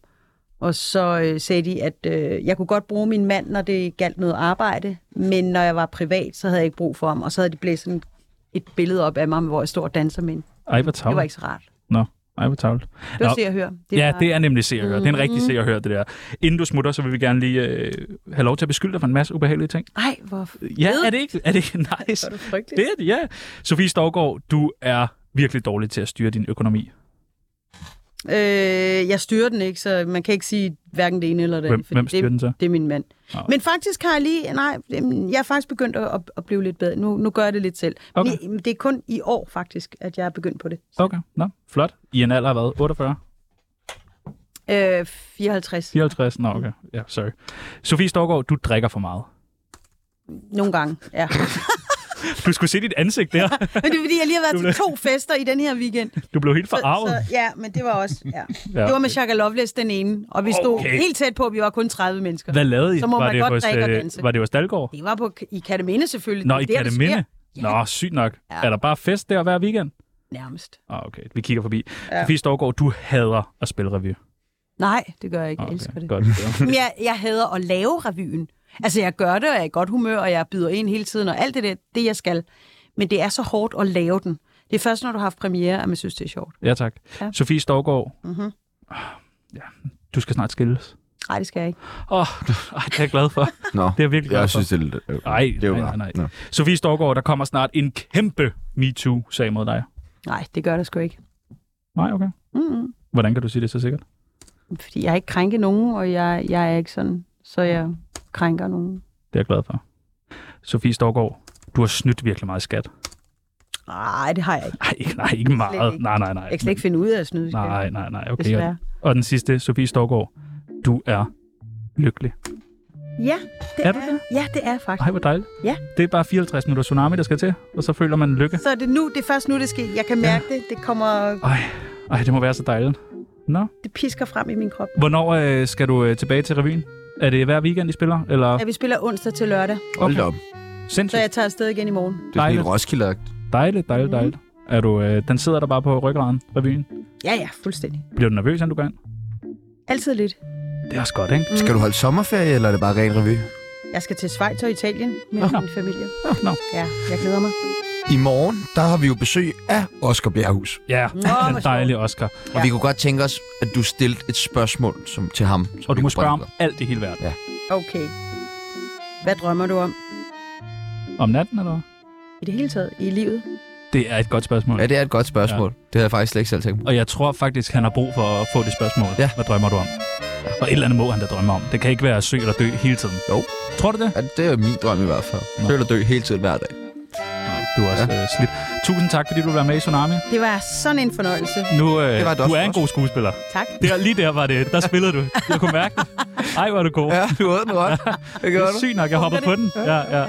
Og så øh, sagde de, at øh, jeg kunne godt bruge min mand, når det galt noget arbejde, men når jeg var privat, så havde jeg ikke brug for ham. Og så havde de blæst sådan et billede op af mig, hvor jeg står og danser med en. Ej, hvor Det var tavligt. ikke så rart. Nå, ej, hvor tavligt. Det var Nå. se og hør. Det ja, var- det er nemlig se og høre. Det er en rigtig Mhm. se og høre, det der. Inden du smutter, så vil vi gerne lige øh, have lov til at beskylde dig for en masse ubehagelige ting. Ej, hvor... Ja, er det ikke, er det ikke nice? det frygteligt. Det er det, ja. Sofie Storgård, du er virkelig dårlig til at styre din økonomi. Øh, jeg styrer den ikke, så man kan ikke sige hverken det ene eller det Hvem- andet. for hvem det- styrer den så? Det er min mand. Nå. Men faktisk har jeg lige... Nej, jamen, jeg er faktisk begyndt at, at- at blive lidt bedre. Nu, nu gør jeg det lidt selv. Okay. Men det- det er kun i år faktisk, at jeg er begyndt på det. Okay, nå, flot. I en alder af hvad? 48? Øh, 54. 54? Nå, okay. Ja, sorry. Sofie Storgård, du drikker for meget. Nogle gange, ja. Du skulle se dit ansigt der. Men det er fordi, jeg lige har Du været til to fester i den her weekend. Du blev helt Så, forarvet. så, ja, men det var også... Ja. Ja. ja. Det var med Shaka Loveless den ene, og vi stod Okay. okay. helt tæt på, at vi var kun 30 mennesker. Hvad lavede I? Så må var man det godt hos, drikke og øh, danse. Var det hos Dalgaard? Det var på, i Kataminde selvfølgelig. Nå, Det i er der, det sker, Kataminde? Nå, sygt nok. Er der bare fest der hver weekend? Nærmest. Ah, okay, vi kigger forbi. Ja. Sofie Storgård, du hader at spille revy. Nej, det gør jeg ikke. Jeg Okay, elsker det. Godt. Men jeg, jeg hader at lave revyen. Altså, jeg gør det, og jeg er i godt humør, og jeg byder ind hele tiden, og alt det der, det jeg skal. Men det er så hårdt at lave den. Det er først, når du har haft premiere, at man synes, det er sjovt. Ja, tak. Ja. Sofie Storgård, Mm-hmm. du skal snart skilles. Nej, det skal jeg ikke. Åh, oh, det er jeg glad for. Nå, Det er jeg virkelig glad jeg for. synes, det er lidt... øh, Ej, det er jo nej, bare- nej, nej. Nå. Sofie Storgård, der kommer snart en kæmpe MeToo-sag mod dig. Nej, det gør der sgu ikke. Nej, okay. Mm-hmm. Hvordan kan du sige det så sikkert? Fordi jeg har ikke krænket nogen, og jeg, jeg er ikke sådan, så jeg krænker nogen. Det er jeg glad for. Sofie Storgård, du har snydt virkelig meget i skat. Nej, det har jeg ikke. Nej, ikke, nej, ikke meget. ikke. Nej, nej, nej. Jeg kan slet ikke finde ud af at snyde. skal jeg? Nej, nej, nej. Okay. Desværre. Og, og den sidste, Sofie Storgård, du er lykkelig. Ja, det Er er, du jeg. det? Ja, det er jeg faktisk. Ej, hvor dejligt. Ja. Det er bare 54 minutter tsunami, der skal til, og så føler man lykke. Så er det nu, det er først nu, det sker. Jeg kan mærke det. Det kommer, Ej, ej, det må være så dejligt. Nå. det pisker frem i min krop. Hvornår øh, skal du øh, tilbage til revyen? Er det hver weekend, I spiller? Eller? Ja, vi spiller onsdag til lørdag, Hold da op. så Sindssygt. jeg tager afsted igen i morgen. Det er sådan Dejligt. helt roskilde Mm. Dejligt, dejligt, Mhm. dejligt. Er du, øh, den sidder der bare på ryggraden, revyen. Ja, ja, fuldstændig. Bliver du nervøs, inden du går ind? Altid lidt. Det er også godt, ikke? Skal du holde sommerferie, eller er det bare ren revy? Jeg skal til Schweiz og Italien med Nå. min familie. Nå, Nå. Ja, jeg glæder mig. I morgen, der har vi jo besøg af Oscar Bjerghus. Ja, hvor den sjovt. dejlige Oscar. Og vi kunne godt tænke os, at du stillede et spørgsmål som, til ham. som Og du vi må kunne spørge om bringe alt i hele verden. Okay. Hvad drømmer du om Om natten, eller hvad? i det hele taget i livet? Det er et godt spørgsmål. op. Ja, det er et godt spørgsmål. Ja. Det havde jeg faktisk slet ikke selv tænkt på. Og jeg tror faktisk, han har brug for at få det spørgsmål. Ja. Hvad drømmer du om? Og et eller andet må han da drømme om. Det kan ikke være at sø eller dø hele tiden. Jo. Tror du det? Ja, det er min drøm i hvert fald. Nå. Føler dø hele tiden hver dag. Du er også ja. øh, slidt. Tusind tak, fordi du var med i Tsunami. Det var sådan en fornøjelse. Nu, øh, Det var det du også er for en os. god skuespiller. Tak. Der, lige der var det. Der spillede du. Jeg kunne mærke det. Ej, hvor er du god. Ja, du åd den godt. Det Det gør er du. sygt nok, jeg hoppede på den. Ja, ja. Ja.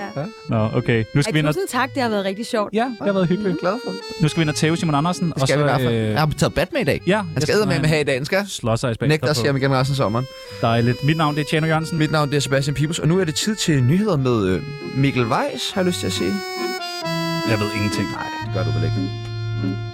Nå, okay. Nu skal vi ind og... Ej, tusind tak, det har været rigtig sjovt. Ja, det har været hyggeligt. glad for. Nu skal vi ind og tæve Simon Andersen. Det skal og så, vi i hvert fald. øh, Jeg har taget bat med i dag. Ja, Han skal med med her i dag, den skal. Slå Mm. sig i spænd. Nægter os hjem igen resten af sommeren. Dejligt. Mit navn det er Tjerno Jørgensen. Mit navn det er Sebastian Pibus, og nu er det tid til nyheder med øh, Mikkel Weiss, har jeg lyst til at sige. Jeg ved ingenting. Nej, det gør du vel ikke.